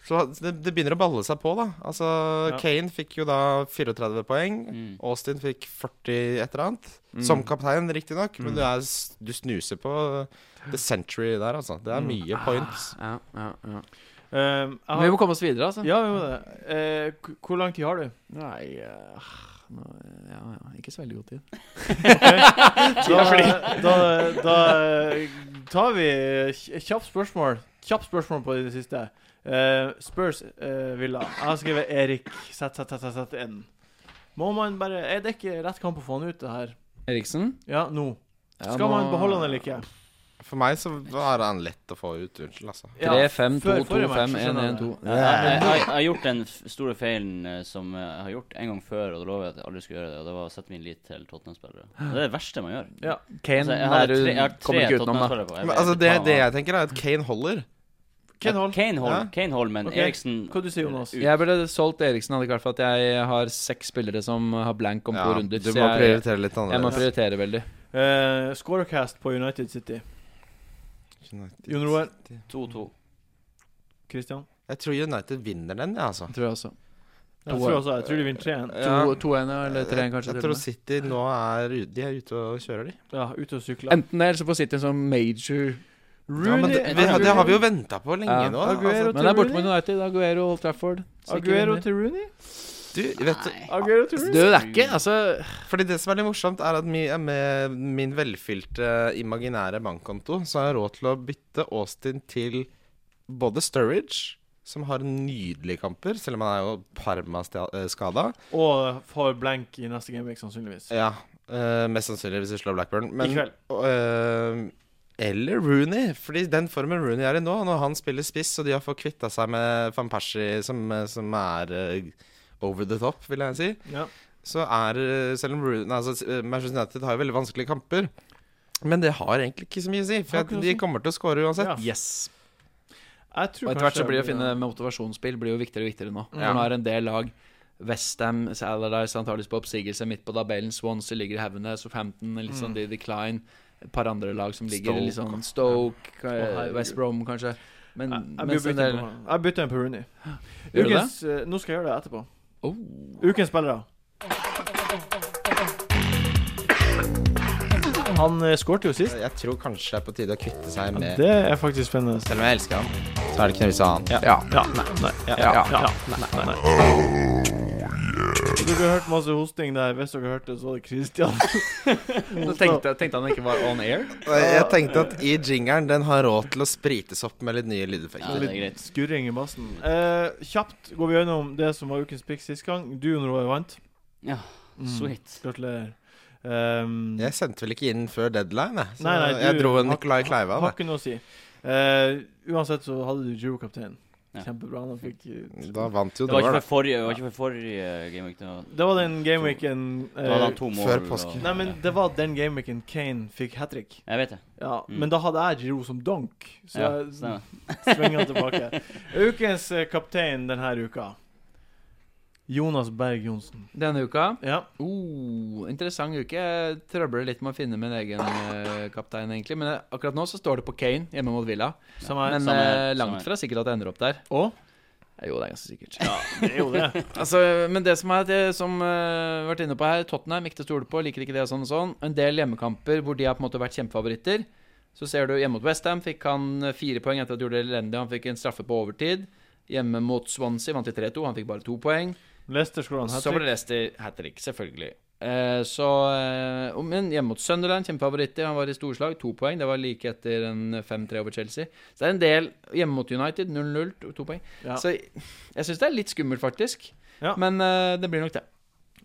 [SPEAKER 4] Så altså, det, det begynner å balle seg på, da. Altså,
[SPEAKER 1] Ja.
[SPEAKER 4] Kane fikk jo da 34 poeng. [laughs]
[SPEAKER 2] [laughs] Mm.
[SPEAKER 4] Austin fikk 40 et eller annet.
[SPEAKER 3] Mm.
[SPEAKER 4] Som kaptein, riktignok, men du, er, s- du snuser på the century der, altså. Det er
[SPEAKER 1] Mm.
[SPEAKER 4] mye points.
[SPEAKER 3] Ja, ja, ja.
[SPEAKER 1] Um, jeg
[SPEAKER 3] Men
[SPEAKER 1] har,
[SPEAKER 3] vi må komme oss videre, altså.
[SPEAKER 1] ja, vi må det. Eh, k- hvor lang tid har du?
[SPEAKER 3] Nei eh, nå, ja, ja, Ikke så veldig god tid.
[SPEAKER 1] Da, da, da eh, tar vi kj- kjapt spørsmål. Kjapt spørsmål på det siste. Eh, Spurs eh, Villa. Jeg har skrevet Erik ZZZZN. Må man bare Er det ikke rett kamp å få han ut, det her?
[SPEAKER 3] Eriksen?
[SPEAKER 1] Ja, nå. Skal man beholde han eller ikke?
[SPEAKER 4] For meg så er han lett å få ut. Unnskyld, altså.
[SPEAKER 1] Ja, før- forrige match, så skjønner jeg det.
[SPEAKER 2] Jeg, jeg, jeg, jeg har gjort den f- store feilen eh, som jeg har gjort en gang før, og da lover jeg at jeg aldri skulle gjøre det. Og det var å sette min lit til Tottenham-spillere. Og Det er det verste man gjør.
[SPEAKER 1] Ja.
[SPEAKER 2] Altså,
[SPEAKER 3] Eh, Kane
[SPEAKER 2] jeg har
[SPEAKER 3] er
[SPEAKER 2] tre, jeg har
[SPEAKER 3] du
[SPEAKER 2] tre
[SPEAKER 3] kommer ikke utenom, da.
[SPEAKER 2] Tottenham-spillere på. Jeg
[SPEAKER 4] Men,
[SPEAKER 2] vet
[SPEAKER 4] altså,
[SPEAKER 2] ikke
[SPEAKER 4] det,
[SPEAKER 2] faen,
[SPEAKER 4] det
[SPEAKER 2] jeg-
[SPEAKER 4] jeg tenker, er at Kane holder.
[SPEAKER 1] Ken Holm,
[SPEAKER 2] Kane Hall,
[SPEAKER 4] Ja.
[SPEAKER 2] Kane Hall, men
[SPEAKER 1] Ok.
[SPEAKER 2] Eriksen
[SPEAKER 1] hva du sier Jonas?
[SPEAKER 2] ut.
[SPEAKER 3] Jeg burde solgt Eriksen, hadde ikke vært for at jeg har seks spillere som har blank om to
[SPEAKER 4] Ja,
[SPEAKER 3] runder.
[SPEAKER 4] du
[SPEAKER 3] Så
[SPEAKER 4] må
[SPEAKER 3] jeg,
[SPEAKER 4] prioritere litt
[SPEAKER 3] jeg må
[SPEAKER 4] annerledes.
[SPEAKER 3] prioritere veldig.
[SPEAKER 1] Eh, scorecast på United City.
[SPEAKER 4] United.
[SPEAKER 1] Jon Roar,
[SPEAKER 2] 2-2.
[SPEAKER 1] Christian.
[SPEAKER 4] Jeg tror United vinner den, jeg, ja, altså.
[SPEAKER 3] Tror jeg også.
[SPEAKER 1] Jeg tror også Altså, jeg tror de vinner 3-1.
[SPEAKER 4] Ja.
[SPEAKER 3] 2-1 eller 3-1, kanskje.
[SPEAKER 4] Jeg
[SPEAKER 3] til og
[SPEAKER 4] tror
[SPEAKER 3] med.
[SPEAKER 4] City nå er u- De er ute og kjører, de.
[SPEAKER 1] Ja, ute og sykler.
[SPEAKER 3] Enten det, eller så får City en sånn major
[SPEAKER 4] Ja, men det, vi, det har vi jo venta på lenge
[SPEAKER 3] Ja.
[SPEAKER 4] nå.
[SPEAKER 1] Aguero
[SPEAKER 4] Altså.
[SPEAKER 3] Men det er borte
[SPEAKER 1] Rooney?
[SPEAKER 3] mot United. Aguero Old Trafford. Så ikke
[SPEAKER 1] Aguero
[SPEAKER 3] vinner.
[SPEAKER 1] til Rooney?
[SPEAKER 4] Du, vet du,
[SPEAKER 2] Nei.
[SPEAKER 1] Aguero til
[SPEAKER 3] Du,
[SPEAKER 1] Rooney?
[SPEAKER 3] det er ikke Altså
[SPEAKER 4] fordi det som er litt morsomt, er at mi, eh, med min velfylte eh, imaginære bankkonto, så har jeg råd til å bytte Austin til både Sturridge, som har nydelige kamper, selv om han er jo eh, Parma-skada.
[SPEAKER 1] Og får blank i neste gameweek, sannsynligvis.
[SPEAKER 4] Ja, eh, mest sannsynlig hvis vi slår Blackburn. Men,
[SPEAKER 1] I kveld.
[SPEAKER 4] eh, eller Rooney, fordi den formen Rooney er i nå, når han spiller spiss og de har fått kvitta seg med van Persie, som, som er eh, over the top, vil jeg si,
[SPEAKER 1] Ja.
[SPEAKER 4] så er eh, Selv om Rooney, altså, eh, Manchester United har jo veldig vanskelige kamper, men det har egentlig ikke så mye å si, for
[SPEAKER 1] Har ikke
[SPEAKER 4] at
[SPEAKER 1] noe å
[SPEAKER 4] de
[SPEAKER 1] si.
[SPEAKER 4] kommer til å skåre uansett.
[SPEAKER 1] Ja.
[SPEAKER 3] Yes.
[SPEAKER 1] Jeg tror
[SPEAKER 3] Og etter hvert
[SPEAKER 1] kanskje
[SPEAKER 3] så blir det å
[SPEAKER 1] jeg
[SPEAKER 3] finne motivasjonsspill Blir jo viktigere og viktigere nå.
[SPEAKER 1] Ja.
[SPEAKER 3] For nå er en del lag Westham, Saladise antakeligvis på oppsigelse midt på tabellen. Swansea ligger i haugene. Southampton litt sånn
[SPEAKER 1] Mm.
[SPEAKER 3] de decline. Et par andre lag som ligger
[SPEAKER 4] Stoke.
[SPEAKER 3] litt sånn Stoke, eh,
[SPEAKER 1] herregud.
[SPEAKER 3] West Brom kanskje. Men
[SPEAKER 1] Jeg, jeg,
[SPEAKER 3] mens
[SPEAKER 1] bytter
[SPEAKER 3] en del
[SPEAKER 1] på han. jeg bytter en på Rooney.
[SPEAKER 3] Gjør du
[SPEAKER 1] Ukens, eh, nå skal jeg gjøre det etterpå.
[SPEAKER 3] oh.
[SPEAKER 1] Ukens spillere. Han eh, skårte jo sist.
[SPEAKER 4] Jeg tror kanskje det er på tide å kvitte seg
[SPEAKER 1] Ja,
[SPEAKER 4] med
[SPEAKER 1] det er faktisk spennende.
[SPEAKER 4] Selv om jeg elsker han, så er det ikke noe vits i å ha han.
[SPEAKER 3] Ja.
[SPEAKER 1] Ja, nei, nei.
[SPEAKER 3] Ja.
[SPEAKER 1] Ja, nei, nei, nei. Dere har hørt masse hosting der. Hvis dere hørte det, så var det
[SPEAKER 3] [laughs]
[SPEAKER 1] Christian.
[SPEAKER 3] Så tenkte, tenkte han ikke var on air?
[SPEAKER 4] Jeg tenkte at i jingeren den har råd til å sprites opp med litt nye
[SPEAKER 2] Ja,
[SPEAKER 4] lydeffekter.
[SPEAKER 2] det er greit.
[SPEAKER 1] Skurring i bassen. Eh, kjapt går vi gjennom det som var ukens pick sist gang. Duoen Roy vant.
[SPEAKER 2] Ja,
[SPEAKER 1] Mm.
[SPEAKER 2] sweet.
[SPEAKER 1] Gratulerer. Um,
[SPEAKER 4] Jeg sendte vel ikke inn før deadline, jeg. Så
[SPEAKER 1] Nei, nei,
[SPEAKER 4] jeg
[SPEAKER 1] du-
[SPEAKER 4] dro en
[SPEAKER 1] har-
[SPEAKER 4] Nicolai Kleiva.
[SPEAKER 1] Har
[SPEAKER 4] da.
[SPEAKER 1] ikke noe å si. Eh, uansett så hadde du Juro-kapteinen.
[SPEAKER 2] Ja.
[SPEAKER 1] Kjempebra. Han fikk eh,
[SPEAKER 4] Da vant jo
[SPEAKER 2] Det var ikke
[SPEAKER 4] Dover, da.
[SPEAKER 2] for forrige, det var ikke for forrige gameweek. Det var,
[SPEAKER 1] Det var den gameweeken
[SPEAKER 2] da
[SPEAKER 3] Eh,
[SPEAKER 2] hadde
[SPEAKER 1] uh,
[SPEAKER 2] han to mål.
[SPEAKER 4] før påske.
[SPEAKER 1] Nei, men det var den gameweeken Kane fikk hat trick.
[SPEAKER 2] Jeg vet det.
[SPEAKER 1] Ja,
[SPEAKER 2] Mm.
[SPEAKER 1] Men da hadde jeg Giro som donk, så
[SPEAKER 2] Ja,
[SPEAKER 1] jeg
[SPEAKER 2] stemmer.
[SPEAKER 1] [laughs] svinger han tilbake. Ukens eh, kaptein denne uka. Jonas Berg Johnsen.
[SPEAKER 3] Denne uka
[SPEAKER 1] Ja.
[SPEAKER 3] Oh, interessant uke. Jeg trøbler litt med å finne min egen eh, kaptein, egentlig. Men eh, akkurat nå så står det på Kane hjemme mot Villa.
[SPEAKER 1] Som er
[SPEAKER 3] Men
[SPEAKER 2] samme her,
[SPEAKER 3] eh, langt
[SPEAKER 2] samme
[SPEAKER 3] fra sikkert at jeg ender opp der.
[SPEAKER 1] Og?
[SPEAKER 3] Eh, Jo, det er ganske sikkert.
[SPEAKER 1] Det er jo det.
[SPEAKER 3] Altså, men det som er det som eh, vært inne på her, Tottenham ikke til å stole på, liker ikke det og sånn og sånn. En del hjemmekamper hvor de har på en måte vært kjempefavoritter. Så ser du hjemme mot Westham fikk han eh, fire poeng etter at de gjorde det elendig. Han fikk en straffe på overtid. Hjemme mot Swansea vant de 3-2, han fikk bare to poeng.
[SPEAKER 1] Leicester skårer en hat
[SPEAKER 3] Så ble
[SPEAKER 1] trick.
[SPEAKER 3] det Leicester hat trick, selvfølgelig. Eh, så, eh, og- men hjemme mot Sunderland, kjempefavoritter. Han var i storslag, to poeng. Det var like etter en 5-3 over Chelsea. Så det er en del hjemme mot United, 0-0, to- to poeng.
[SPEAKER 1] Ja.
[SPEAKER 3] Så jeg syns det er litt skummelt, faktisk.
[SPEAKER 1] Ja.
[SPEAKER 3] Men eh, det blir nok det.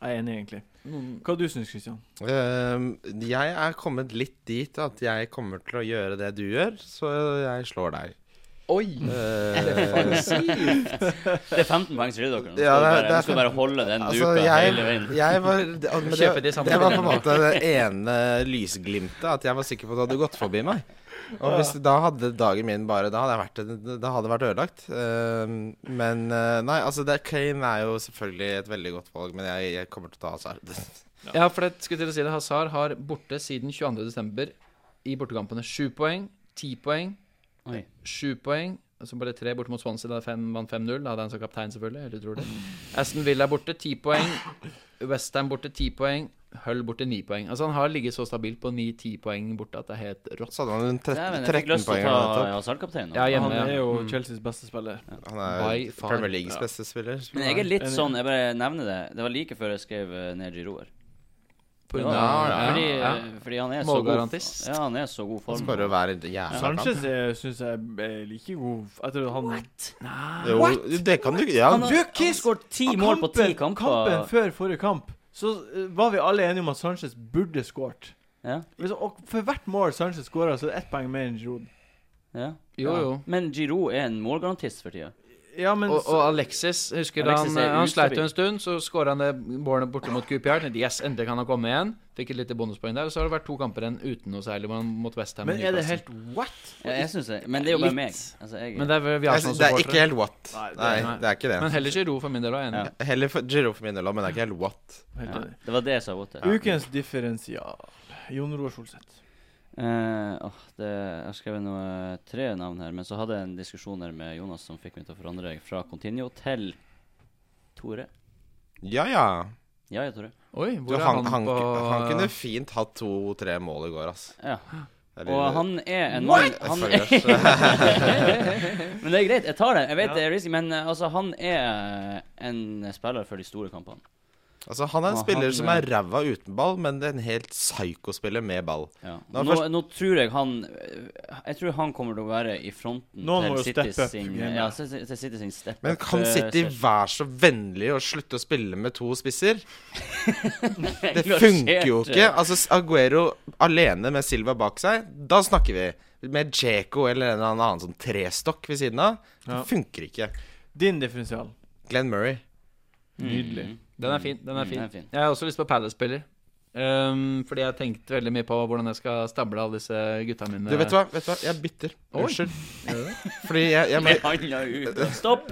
[SPEAKER 1] Jeg er enig, egentlig.
[SPEAKER 2] Mm.
[SPEAKER 1] Hva du syns Christian?
[SPEAKER 4] Ehm, jeg er kommet litt dit at jeg kommer til å gjøre det du gjør, så jeg slår deg.
[SPEAKER 3] Oi!
[SPEAKER 2] [laughs]
[SPEAKER 4] Ehm,
[SPEAKER 2] Det er 15 poengs rydde dere.
[SPEAKER 4] Ja,
[SPEAKER 2] Ja,
[SPEAKER 4] det er- det
[SPEAKER 2] du
[SPEAKER 4] er
[SPEAKER 2] skal bare holde den
[SPEAKER 4] altså,
[SPEAKER 2] duka
[SPEAKER 4] jeg,
[SPEAKER 2] hele veien.
[SPEAKER 4] jeg
[SPEAKER 2] [laughs]
[SPEAKER 4] var det, men
[SPEAKER 3] Kjøpe de
[SPEAKER 4] det,
[SPEAKER 3] samme
[SPEAKER 4] det var på en
[SPEAKER 3] brillene.
[SPEAKER 4] måte det ene lysglimtet, at jeg var sikker på at du hadde gått forbi meg. Og hvis da hadde dagen min bare Da hadde jeg vært, da hadde jeg vært ødelagt. Ehm, men eh, nei, altså det, Kane er jo selvfølgelig et veldig godt valg, men jeg, jeg kommer til å ta Hazard. [laughs]
[SPEAKER 3] Ja, for det skulle til å si det. Hazar har borte siden 22.12. i bortekampene. Sju poeng, ti poeng,
[SPEAKER 2] Oi.
[SPEAKER 3] sju poeng. Altså bare tre borte mot Swansea, da fem, vant 5-0. Da hadde han som kaptein, selvfølgelig. Eller tror det. [laughs] Aston Villa borte, ti poeng. Westham borte, ti poeng. Hull borte, ni poeng. Altså Han har ligget så stabilt på ni-ti poeng borte at det er helt rått.
[SPEAKER 4] Så hadde Sånn, han en
[SPEAKER 2] Nei, men jeg fikk
[SPEAKER 4] 13
[SPEAKER 2] lyst til
[SPEAKER 4] poeng.
[SPEAKER 2] å ta eh, Hazard-kapteinen.
[SPEAKER 3] Ja, hjemme,
[SPEAKER 1] Han er
[SPEAKER 3] ja.
[SPEAKER 1] jo
[SPEAKER 3] Mm.
[SPEAKER 1] Chelseas beste spiller.
[SPEAKER 4] Han er
[SPEAKER 3] By far.
[SPEAKER 4] Premier Leagues beste spiller.
[SPEAKER 2] Men jeg er litt
[SPEAKER 1] Enig.
[SPEAKER 2] sånn, jeg bare nevner det. Det var like før jeg skrev eh, ned Giroer.
[SPEAKER 3] På
[SPEAKER 2] Ja,
[SPEAKER 3] grunn av- ja,
[SPEAKER 2] Fordi,
[SPEAKER 3] ja.
[SPEAKER 2] fordi han er så god
[SPEAKER 3] Målgarantist.
[SPEAKER 2] Ja, han er så god
[SPEAKER 4] Han
[SPEAKER 2] form.
[SPEAKER 4] skårer hver jævla kamp.
[SPEAKER 1] Sanchez syns jeg er like god Jeg tror han
[SPEAKER 4] Jo, det kan du Ja,
[SPEAKER 2] Han har,
[SPEAKER 4] du
[SPEAKER 2] han har skåret ti mål på ti
[SPEAKER 1] Kampen
[SPEAKER 2] kamper.
[SPEAKER 1] før forrige kamp Så eh, var vi alle enige om at Sanchez burde skåret.
[SPEAKER 2] Ja,
[SPEAKER 1] Liksom, og for hvert mål Sanchez skårer, så er det ett poeng mer enn Giroud.
[SPEAKER 2] ja.
[SPEAKER 3] Jo, jo.
[SPEAKER 2] Men Giroud er en målgarantist for tida.
[SPEAKER 1] Ja, men
[SPEAKER 3] Og, og Alexis, jeg husker
[SPEAKER 2] Alexis
[SPEAKER 3] han,
[SPEAKER 2] er
[SPEAKER 3] han sleit jo
[SPEAKER 2] ustabil.
[SPEAKER 3] en stund, så skåra han det målet borte mot QPR. Tenkte, Yes, endelig kan han komme igjen. Fikk et lite bonuspoeng der. Og så har det vært to kamper igjen uten noe særlig man- mot Westham.
[SPEAKER 1] Men er det helt what?
[SPEAKER 2] Ja, jeg synes det. Men det er jo
[SPEAKER 3] Litt.
[SPEAKER 2] bare meg. Altså, jeg,
[SPEAKER 3] Men det er, vi
[SPEAKER 4] Jeg
[SPEAKER 3] har
[SPEAKER 4] synes
[SPEAKER 3] sånn
[SPEAKER 4] Det er ikke
[SPEAKER 3] supportere.
[SPEAKER 4] helt what.
[SPEAKER 1] Nei, det-
[SPEAKER 4] Nei, det er ikke det.
[SPEAKER 3] Men heller ikke ro for min del, da. jeg er
[SPEAKER 2] Ja.
[SPEAKER 3] Enig.
[SPEAKER 4] Heller for Giro for min del òg, men det er ikke helt what.
[SPEAKER 1] Helt
[SPEAKER 2] ja,
[SPEAKER 1] enig.
[SPEAKER 2] det var det jeg sa godt til.
[SPEAKER 1] Ukens differensial. Jon Roar Solseth.
[SPEAKER 2] Eh, åh, det, jeg har skrevet noe, tre navn her, men så hadde jeg en diskusjon her med Jonas som fikk meg til å forandre fra Continuo til Tore.
[SPEAKER 4] Ja, ja.
[SPEAKER 2] Ja, ja, Tore.
[SPEAKER 3] Oi, hvor
[SPEAKER 4] Du,
[SPEAKER 3] er
[SPEAKER 4] han,
[SPEAKER 3] han,
[SPEAKER 4] han,
[SPEAKER 3] på
[SPEAKER 4] han kunne fint hatt to-tre mål i går, ass.
[SPEAKER 2] Ja.
[SPEAKER 4] Det er
[SPEAKER 2] Og
[SPEAKER 4] lille-
[SPEAKER 2] han er en mann han er, Men det er [laughs] greit, jeg tar det. Jeg vet
[SPEAKER 1] Ja.
[SPEAKER 2] det er risky, men eh, altså, han er en spiller for de store kampene.
[SPEAKER 4] altså, han er en
[SPEAKER 2] Og
[SPEAKER 4] spiller
[SPEAKER 2] han-
[SPEAKER 4] som er ræva uten ball, men det er en helt psykospiller med ball.
[SPEAKER 2] Ja.
[SPEAKER 4] Nå
[SPEAKER 2] Nå,
[SPEAKER 4] først-
[SPEAKER 2] nå tror jeg han eh, Jeg tror han kommer til å være i fronten
[SPEAKER 1] Noen må
[SPEAKER 2] til
[SPEAKER 1] jo
[SPEAKER 2] City
[SPEAKER 1] steppe up
[SPEAKER 2] sin
[SPEAKER 1] gamet.
[SPEAKER 2] Ja, til til City sin step
[SPEAKER 4] Men
[SPEAKER 2] up,
[SPEAKER 4] kan
[SPEAKER 2] eh,
[SPEAKER 4] City
[SPEAKER 2] search.
[SPEAKER 4] være så vennlig og slutte å spille med to spisser?
[SPEAKER 2] [laughs]
[SPEAKER 4] Det
[SPEAKER 2] Engasjert,
[SPEAKER 4] funker jo
[SPEAKER 2] eh,
[SPEAKER 4] ikke. Altså, Aguero alene med Silva bak seg, da snakker vi. Med Djeko eller en eller annen sånn trestokk ved siden av, det
[SPEAKER 1] Ja.
[SPEAKER 4] funker ikke.
[SPEAKER 1] Din differensial.
[SPEAKER 4] Glenn Murray.
[SPEAKER 2] mm.
[SPEAKER 1] Nydelig.
[SPEAKER 3] Den er fin. Den er
[SPEAKER 2] Mm,
[SPEAKER 3] fin.
[SPEAKER 2] den er fin.
[SPEAKER 3] Jeg har også lyst på Palace-spiller. Ehm, fordi jeg har tenkt veldig mye på hvordan jeg skal stable alle disse gutta mine.
[SPEAKER 4] Du, vet du hva? Vet du hva? Jeg bytter.
[SPEAKER 3] Oi.
[SPEAKER 4] Unnskyld. Fordi jeg, jeg må
[SPEAKER 2] Med handa
[SPEAKER 4] [laughs]
[SPEAKER 2] ut. Stopp!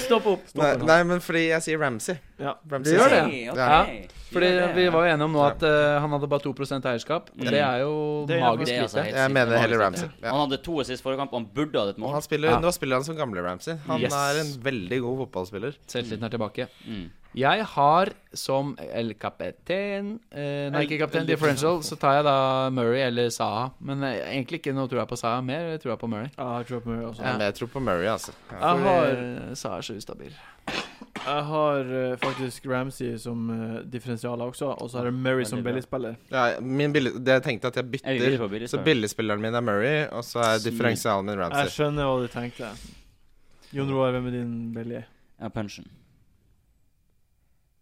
[SPEAKER 2] Stopp opp!
[SPEAKER 4] nei, nei, men fordi jeg sier Ramsey.
[SPEAKER 1] Ja.
[SPEAKER 4] Ramsey
[SPEAKER 3] Du gjør
[SPEAKER 4] sier-
[SPEAKER 3] det?
[SPEAKER 2] Hey, ok.
[SPEAKER 4] Ja.
[SPEAKER 3] Fordi
[SPEAKER 2] Ja, det er-
[SPEAKER 3] vi var jo enige om nå at eh, han hadde bare 2 eierskap.
[SPEAKER 2] Mm.
[SPEAKER 3] Det er jo
[SPEAKER 1] Det er
[SPEAKER 3] magisk
[SPEAKER 2] Det er altså
[SPEAKER 3] lite.
[SPEAKER 2] helt
[SPEAKER 4] Jeg
[SPEAKER 2] sykt.
[SPEAKER 4] mener
[SPEAKER 2] Det er
[SPEAKER 4] heller
[SPEAKER 2] helt sykt,
[SPEAKER 4] Ramsey,
[SPEAKER 2] ja.
[SPEAKER 4] ja.
[SPEAKER 2] Han hadde to assist forrige kamp, og han burde hatt et
[SPEAKER 4] Og
[SPEAKER 2] mål.
[SPEAKER 4] han spiller,
[SPEAKER 3] Ja.
[SPEAKER 4] Nå spiller han som gamle Ramsey. Han
[SPEAKER 3] Yes.
[SPEAKER 4] er en veldig god fotballspiller.
[SPEAKER 3] Selvtilliten er tilbake.
[SPEAKER 2] Mm.
[SPEAKER 3] Jeg har som El Capitan eh, Nei, ikke kaptein Differential. Så tar jeg da Murray eller Saha. Men eh, egentlig ikke noe tror jeg på Saha, mer tror jeg på Murray.
[SPEAKER 1] Ja, jeg tror på Murray også.
[SPEAKER 4] Men jeg tror på Murray, altså. Ja.
[SPEAKER 1] Jeg
[SPEAKER 3] Fordi
[SPEAKER 1] har,
[SPEAKER 3] Saha er så ustabil.
[SPEAKER 1] jeg har eh, faktisk Ramsey som eh, differensial også, og så har jeg Murray som
[SPEAKER 2] Veldig bra.
[SPEAKER 1] billigspiller.
[SPEAKER 4] Ja, min billig, det jeg tenkte at jeg
[SPEAKER 2] Jeg vil
[SPEAKER 4] bytter
[SPEAKER 2] ikke på billig
[SPEAKER 4] Så billigspilleren min er Murray, og så er
[SPEAKER 2] Sykt.
[SPEAKER 4] differensialen min
[SPEAKER 1] Jeg
[SPEAKER 4] Ramsey.
[SPEAKER 1] skjønner hva du tenkte. Jon Roar, hvem er din billige?
[SPEAKER 2] Ja, punchen.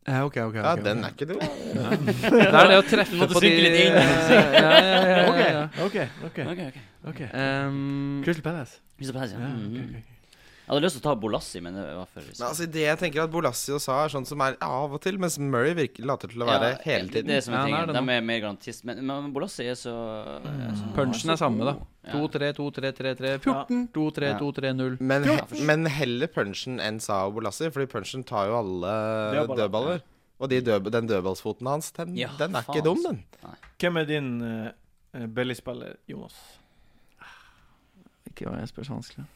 [SPEAKER 3] Ja, ok, ok,
[SPEAKER 4] [laughs] Ja, den er ikke dum.
[SPEAKER 3] Det er det å treffe
[SPEAKER 2] Du måtte
[SPEAKER 3] på de
[SPEAKER 2] synke litt inn.
[SPEAKER 3] [laughs] ja, ja, ja, ja, ja, ja.
[SPEAKER 1] OK. ok,
[SPEAKER 2] Ok, ok.
[SPEAKER 1] ok
[SPEAKER 3] Ehm,
[SPEAKER 1] Crystal Palace.
[SPEAKER 2] Crystal Palace,
[SPEAKER 1] Ja,
[SPEAKER 2] ja. Mhm.
[SPEAKER 1] ok, ok.
[SPEAKER 2] Jeg hadde lyst til å ta Bolassi, men det var for
[SPEAKER 4] Men altså, det jeg tenker at Bolassi og Sa er sånn som er av og til, mens Murray virker, later til å
[SPEAKER 2] Ja,
[SPEAKER 4] være hele tiden.
[SPEAKER 2] Det er som
[SPEAKER 3] Ja,
[SPEAKER 2] en ting,
[SPEAKER 3] han er det
[SPEAKER 2] De er mer garantist. Men, men Bolassi er så er så-
[SPEAKER 3] Punchen er samme, da.
[SPEAKER 2] Ja.
[SPEAKER 3] 2-3, 2-3, 3-3, 14, 2-3,
[SPEAKER 2] Ja.
[SPEAKER 3] 2-3, 0.
[SPEAKER 4] Men,
[SPEAKER 2] Ja, for sure.
[SPEAKER 4] men heller punchen enn Sa og Bolassi, fordi punchen tar jo alle
[SPEAKER 1] Dødballer.
[SPEAKER 4] dødballer. Og de død, den dødballsfoten hans, den,
[SPEAKER 2] Ja,
[SPEAKER 4] den er
[SPEAKER 2] faen, altså.
[SPEAKER 4] ikke dum, den.
[SPEAKER 2] [laughs]
[SPEAKER 1] Hvem er din uh, billigspiller, Jonas?
[SPEAKER 3] Ikke hva jeg spør så vanskelig.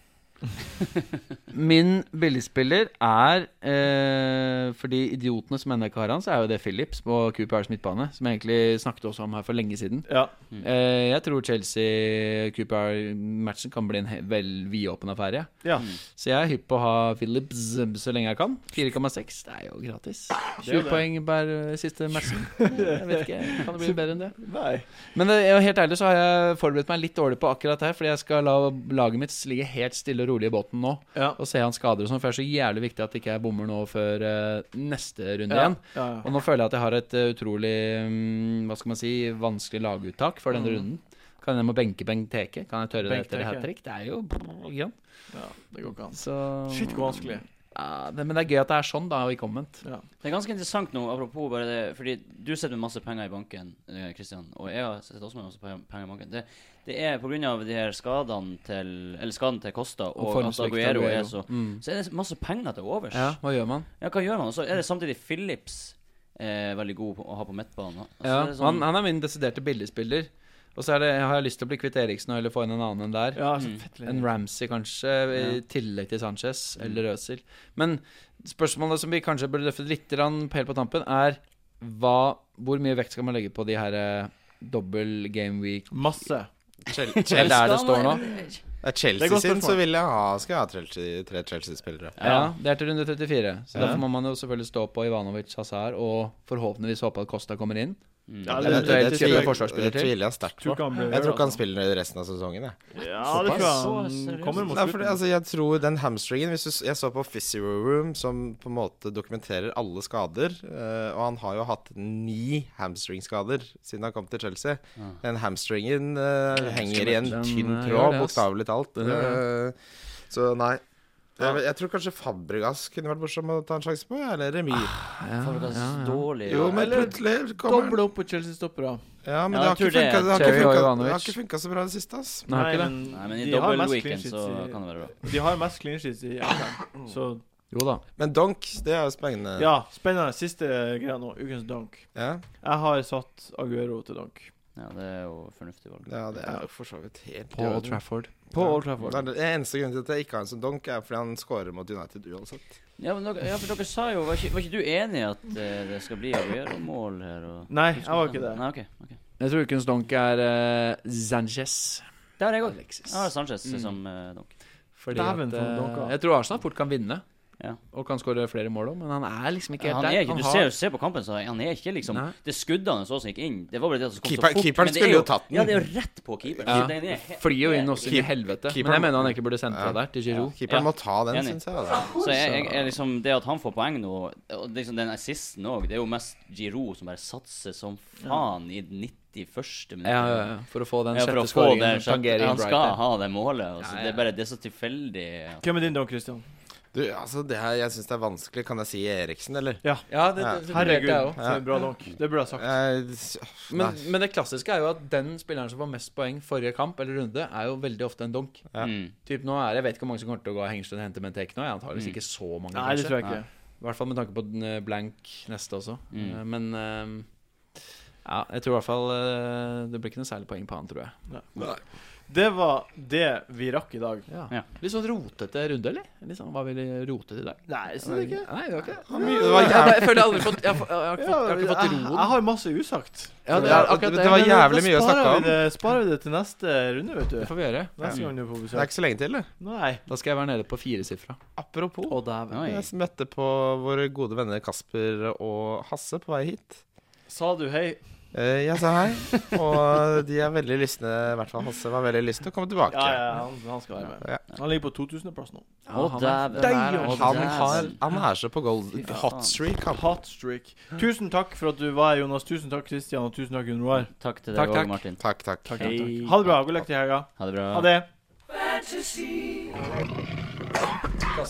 [SPEAKER 3] Min billigspiller er eh, For de idiotene som ennå ikke har han, så er jo det Phillips på QPRs midtbane, som jeg egentlig snakket også om her for lenge siden.
[SPEAKER 1] Ja.
[SPEAKER 3] Eh, jeg tror Chelsea-QPR-matchen kan bli en he- vel vidåpen affære. jeg.
[SPEAKER 1] ja.
[SPEAKER 2] Mm.
[SPEAKER 3] Så jeg er hypp på å ha Phillips så lenge jeg kan. 4,6. Det er jo gratis.
[SPEAKER 1] Det er jo
[SPEAKER 3] 20
[SPEAKER 1] det.
[SPEAKER 3] poeng per eh, siste
[SPEAKER 1] [laughs]
[SPEAKER 3] matchen. Jeg vet ikke, Kan det bli bedre enn det?
[SPEAKER 1] Nei.
[SPEAKER 3] Men det, jeg- helt ærlig så har jeg forberedt meg litt dårlig på akkurat det her, fordi jeg skal la laget mitt ligge helt stille og rolig i båten nå,
[SPEAKER 1] Ja.
[SPEAKER 3] og se han skader og sånn, for det er så jævlig viktig at ikke jeg bommer nå før eh, neste runde
[SPEAKER 1] Ja.
[SPEAKER 3] igjen.
[SPEAKER 1] Ja,
[SPEAKER 3] Og nå føler jeg at jeg har et eh, utrolig, mm, hva skal man si, vanskelig laguttak for denne
[SPEAKER 1] Mm.
[SPEAKER 3] runden. Kan jeg må benke Bengt Teke? Kan jeg tørre det etter
[SPEAKER 1] Benk Teke.
[SPEAKER 3] hat trick? Det er jo brrr, grann.
[SPEAKER 1] ja. Det går ikke an.
[SPEAKER 3] Så
[SPEAKER 1] Shit, hvor vanskelig.
[SPEAKER 3] Ja, det, men det er gøy at det er sånn, da, og ikke omvendt.
[SPEAKER 2] Det er ganske interessant nå, apropos bare det Fordi du sitter med masse penger i banken, eh, Christian. Og jeg har sitter også med masse pe- penger i banken. Det, det er på grunn av de her skadene til Eller skaden til Costa og, at
[SPEAKER 3] formsvikt
[SPEAKER 2] Aguero
[SPEAKER 3] Aguero.
[SPEAKER 2] er så
[SPEAKER 3] Mm.
[SPEAKER 2] Så er det masse penger til overs.
[SPEAKER 3] Ja, hva gjør man?
[SPEAKER 2] Ja, hva gjør man? Og så er det samtidig Phillips eh, veldig god på, å ha på midtbanen. Altså,
[SPEAKER 3] Ja,
[SPEAKER 2] det er
[SPEAKER 3] han,
[SPEAKER 2] sånn,
[SPEAKER 3] han er min desiderte billigspiller. Og så er det, har jeg lyst til å bli kvitt Eriksen og heller få inn en annen enn der.
[SPEAKER 1] Ja, så
[SPEAKER 2] Mm.
[SPEAKER 1] fett
[SPEAKER 3] En Ramsey kanskje, i
[SPEAKER 2] Ja.
[SPEAKER 3] tillegg til Sanchez eller Øzil. Men spørsmålet som vi kanskje burde løfte litt grann helt på tampen, er hva, hvor mye vekt skal man legge på de her eh, dobbel game week
[SPEAKER 1] Masse.
[SPEAKER 4] Chel
[SPEAKER 3] Eller
[SPEAKER 4] Chel
[SPEAKER 3] der det står nå?
[SPEAKER 4] er
[SPEAKER 1] Det er
[SPEAKER 4] Chelsea
[SPEAKER 1] godt
[SPEAKER 4] sin,
[SPEAKER 1] spørsmål.
[SPEAKER 4] så vil jeg ha Skal jeg ha Chelsea, tre Chelsea-spillere.
[SPEAKER 3] Ja. Det er til runde 34. Så
[SPEAKER 1] Ja.
[SPEAKER 3] derfor må man jo selvfølgelig stå på Ivanovic, Hazard og forhåpentligvis håpe at Costa kommer inn.
[SPEAKER 2] Mm.
[SPEAKER 1] Ja,
[SPEAKER 4] Det, det,
[SPEAKER 1] det-
[SPEAKER 4] det,
[SPEAKER 3] det
[SPEAKER 4] tviler-
[SPEAKER 3] er forsvarsspiller
[SPEAKER 4] det tviler jeg sterkt
[SPEAKER 1] Tror
[SPEAKER 4] på.
[SPEAKER 1] ikke han blir
[SPEAKER 4] Jeg
[SPEAKER 1] rørt,
[SPEAKER 4] tror ikke han
[SPEAKER 1] altså.
[SPEAKER 4] spiller resten av sesongen. Jeg.
[SPEAKER 1] Ja, det tror
[SPEAKER 2] Såpass?
[SPEAKER 1] jeg
[SPEAKER 2] Så
[SPEAKER 1] han
[SPEAKER 2] seriøst?
[SPEAKER 1] kommer mot
[SPEAKER 4] Nei, fordi,
[SPEAKER 1] slutten.
[SPEAKER 4] altså, jeg tror den hamstringen hvis du, s- Jeg så på Physio Room, som på en måte dokumenterer alle skader. eh, og han har jo hatt ni hamstringskader siden han kom til Chelsea.
[SPEAKER 2] Ja.
[SPEAKER 4] Den hamstringen eh,
[SPEAKER 2] Den
[SPEAKER 4] henger i en
[SPEAKER 3] den,
[SPEAKER 4] tynn
[SPEAKER 3] eh, gjør
[SPEAKER 4] tråd,
[SPEAKER 3] det, ass.
[SPEAKER 4] bokstavelig talt.
[SPEAKER 3] Den gjør
[SPEAKER 4] Eh, så nei. Jeg, jeg tror kanskje Fabregas kunne vært morsom å ta en sjanse på, ja, eller Remy.
[SPEAKER 3] Ja,
[SPEAKER 2] Faen, det er så dårlig.
[SPEAKER 4] jo, men
[SPEAKER 1] eller
[SPEAKER 4] plutselig kommer han.
[SPEAKER 1] Doble opp på Chelsea-stoppere.
[SPEAKER 4] Ja, men
[SPEAKER 2] Ja, jeg
[SPEAKER 4] det har
[SPEAKER 2] tror
[SPEAKER 4] ikke
[SPEAKER 2] det.
[SPEAKER 4] funka- det har
[SPEAKER 3] Terry
[SPEAKER 4] ikke funka-
[SPEAKER 3] Ivanovic.
[SPEAKER 4] det har ikke funka så bra i det siste, ass.
[SPEAKER 3] Nei, ikke det.
[SPEAKER 2] Nei, men i
[SPEAKER 1] de har
[SPEAKER 2] dobbel
[SPEAKER 1] mest
[SPEAKER 2] weekend
[SPEAKER 1] clean
[SPEAKER 2] så
[SPEAKER 1] sheets i-
[SPEAKER 2] kan det være bra.
[SPEAKER 1] De har mest clean sheets
[SPEAKER 3] [coughs]
[SPEAKER 1] i England. Så
[SPEAKER 3] Jo da.
[SPEAKER 4] Men Donk, det er jo spennende.
[SPEAKER 1] ja, spennende. Siste greia nå. Ukens donk.
[SPEAKER 4] Ja,
[SPEAKER 1] Jeg har satt Aguero til donk.
[SPEAKER 2] Ja, det er jo fornuftig valg.
[SPEAKER 4] ja det er jo for så vidt helt i
[SPEAKER 3] På
[SPEAKER 4] orden.
[SPEAKER 3] Old Trafford.
[SPEAKER 1] På
[SPEAKER 4] Ja.
[SPEAKER 1] Old Trafford.
[SPEAKER 4] Det er det- eneste grunnen til at jeg ikke har han som donk, er fordi han scorer mot United uansett.
[SPEAKER 2] Ja, men dere, ja, for dere sa jo Var ikke, var ikke du enig i at eh, det skal bli Aguero-mål her? Og...
[SPEAKER 1] Nei, jeg var ikke det.
[SPEAKER 2] Nei, ok, ok.
[SPEAKER 3] Jeg tror ukens donk er eh, Sanchez.
[SPEAKER 2] Der er jeg òg.
[SPEAKER 3] Alexis.
[SPEAKER 2] Jeg har Sanchez
[SPEAKER 3] Mm.
[SPEAKER 2] som eh, donk.
[SPEAKER 3] Fordi
[SPEAKER 1] Dæven,
[SPEAKER 3] at,
[SPEAKER 1] for noen donker.
[SPEAKER 3] eh, jeg tror Arsenal fort kan vinne.
[SPEAKER 2] Ja.
[SPEAKER 3] Og kan skåre flere mål òg, men han er liksom ikke helt
[SPEAKER 2] han
[SPEAKER 3] der.
[SPEAKER 2] er ikke, du ser, ser på kampen, så han er ikke liksom
[SPEAKER 3] Nei.
[SPEAKER 2] Det skuddet han så som gikk inn, det var bare det at det kom så
[SPEAKER 4] Keeper-
[SPEAKER 2] fort.
[SPEAKER 4] keeperen
[SPEAKER 2] men det er
[SPEAKER 4] skulle jo tatt den.
[SPEAKER 2] Ja, det er jo rett på keeperen.
[SPEAKER 3] Ja.
[SPEAKER 2] så den er he-
[SPEAKER 3] flyr jo inn også inn i
[SPEAKER 4] Keep-
[SPEAKER 3] helvete.
[SPEAKER 4] keeperen-
[SPEAKER 3] Men jeg mener han egentlig burde sendt fra
[SPEAKER 4] Ja.
[SPEAKER 3] der, til Giroud.
[SPEAKER 2] Ja.
[SPEAKER 4] Keeperen må ta den,
[SPEAKER 2] Enig.
[SPEAKER 4] syns jeg. altså. Da.
[SPEAKER 2] Så jeg, jeg, jeg liksom, det at han får poeng nå, og liksom den assisten òg, det er jo mest Giroud som bare satser som faen i den 91. minutt.
[SPEAKER 3] Ja, ja, ja, for å få den
[SPEAKER 2] Ja, for
[SPEAKER 3] sjette
[SPEAKER 2] å få det
[SPEAKER 3] skåringen.
[SPEAKER 2] sjette-
[SPEAKER 3] Tangering
[SPEAKER 2] Han skal
[SPEAKER 3] Brighton.
[SPEAKER 2] ha det målet. Altså,
[SPEAKER 3] Ja, ja.
[SPEAKER 2] Det er bare det er så tilfeldig. at-
[SPEAKER 1] Hvem er din donk, Christian?
[SPEAKER 4] Du, altså, det her, jeg syns det er vanskelig. Kan jeg si Eriksen, eller?
[SPEAKER 3] Ja, det,
[SPEAKER 4] Ja.
[SPEAKER 3] det, det,
[SPEAKER 1] Herregud,
[SPEAKER 3] jeg også.
[SPEAKER 1] for en bra donk. Det burde jeg sagt.
[SPEAKER 4] Eh, s- nei.
[SPEAKER 3] Men, men det klassiske er jo at den spilleren som får mest poeng forrige kamp eller runde, er jo veldig ofte en donk.
[SPEAKER 4] Ja.
[SPEAKER 2] Mm.
[SPEAKER 3] Typ nå er Jeg vet ikke hvor mange som kommer til å gå av Hengstad og hente Benteke nå. Jeg antakeligvis
[SPEAKER 2] Mm.
[SPEAKER 3] ikke så mange,
[SPEAKER 1] Nei, det
[SPEAKER 3] kanskje.
[SPEAKER 1] tror jeg ikke.
[SPEAKER 3] I hvert fall med tanke på den eh, blank neste også.
[SPEAKER 2] Mm.
[SPEAKER 3] Eh, Men eh, ja, jeg tror i hvert fall eh, det blir ikke noe særlig poeng på han, tror jeg.
[SPEAKER 1] Det var det vi rakk i dag.
[SPEAKER 3] Ja.
[SPEAKER 2] Ja.
[SPEAKER 3] Litt sånn rotete runde, eller? Litt sånn, var veldig rotete i dag?
[SPEAKER 1] Nei, jeg synes ikke.
[SPEAKER 3] Nei, det var ikke det.
[SPEAKER 4] Det var
[SPEAKER 3] Jeg,
[SPEAKER 4] jævlig,
[SPEAKER 3] jeg føler jeg aldri fått Jeg har, jeg har, ikke fått, jeg har ikke fått
[SPEAKER 1] jeg,
[SPEAKER 3] roen.
[SPEAKER 1] jeg har masse usagt.
[SPEAKER 3] Ja, det
[SPEAKER 4] Ja,
[SPEAKER 3] er akkurat det.
[SPEAKER 4] Det var
[SPEAKER 1] Men
[SPEAKER 4] jævlig
[SPEAKER 1] da
[SPEAKER 4] mye å
[SPEAKER 1] sparer
[SPEAKER 4] snakke
[SPEAKER 1] vi
[SPEAKER 4] om.
[SPEAKER 1] det- Sparer vi det til neste runde, vet
[SPEAKER 3] Det
[SPEAKER 1] du.
[SPEAKER 3] får vi gjøre.
[SPEAKER 1] Neste gang du er på
[SPEAKER 4] det er
[SPEAKER 1] besøk.
[SPEAKER 4] ikke så lenge til, det.
[SPEAKER 1] Nei.
[SPEAKER 3] Da skal jeg være nede på firesifra.
[SPEAKER 4] Apropos,
[SPEAKER 1] Å, dæven.
[SPEAKER 2] Oi.
[SPEAKER 4] jeg møtte på våre gode venner Kasper og Hasse på vei hit.
[SPEAKER 1] Sa du hei?
[SPEAKER 4] Eh, Jeg sa hei, og de er veldig lystne. I hvert fall Hasse var veldig lyst til å komme tilbake.
[SPEAKER 1] Ja, ja, han, han skal være med.
[SPEAKER 4] Ja.
[SPEAKER 1] Han ligger på 2000.-plass nå.
[SPEAKER 2] Å,
[SPEAKER 3] han er-
[SPEAKER 2] dæven.
[SPEAKER 3] Der,
[SPEAKER 2] Å,
[SPEAKER 4] Han,
[SPEAKER 2] dæven.
[SPEAKER 4] har, han er så på gold
[SPEAKER 2] Fy faen.
[SPEAKER 4] hot streak. Han.
[SPEAKER 1] Hot streak. Tusen takk for at du var her, Jonas. Tusen takk, Christian, og tusen takk, Gunn Roar.
[SPEAKER 2] Takk til
[SPEAKER 3] Takk,
[SPEAKER 2] deg
[SPEAKER 3] takk.
[SPEAKER 2] òg, Martin.
[SPEAKER 4] Takk, takk.
[SPEAKER 1] Ha det bra. God lykke til i helga.
[SPEAKER 2] Ha det bra.
[SPEAKER 1] Ha det.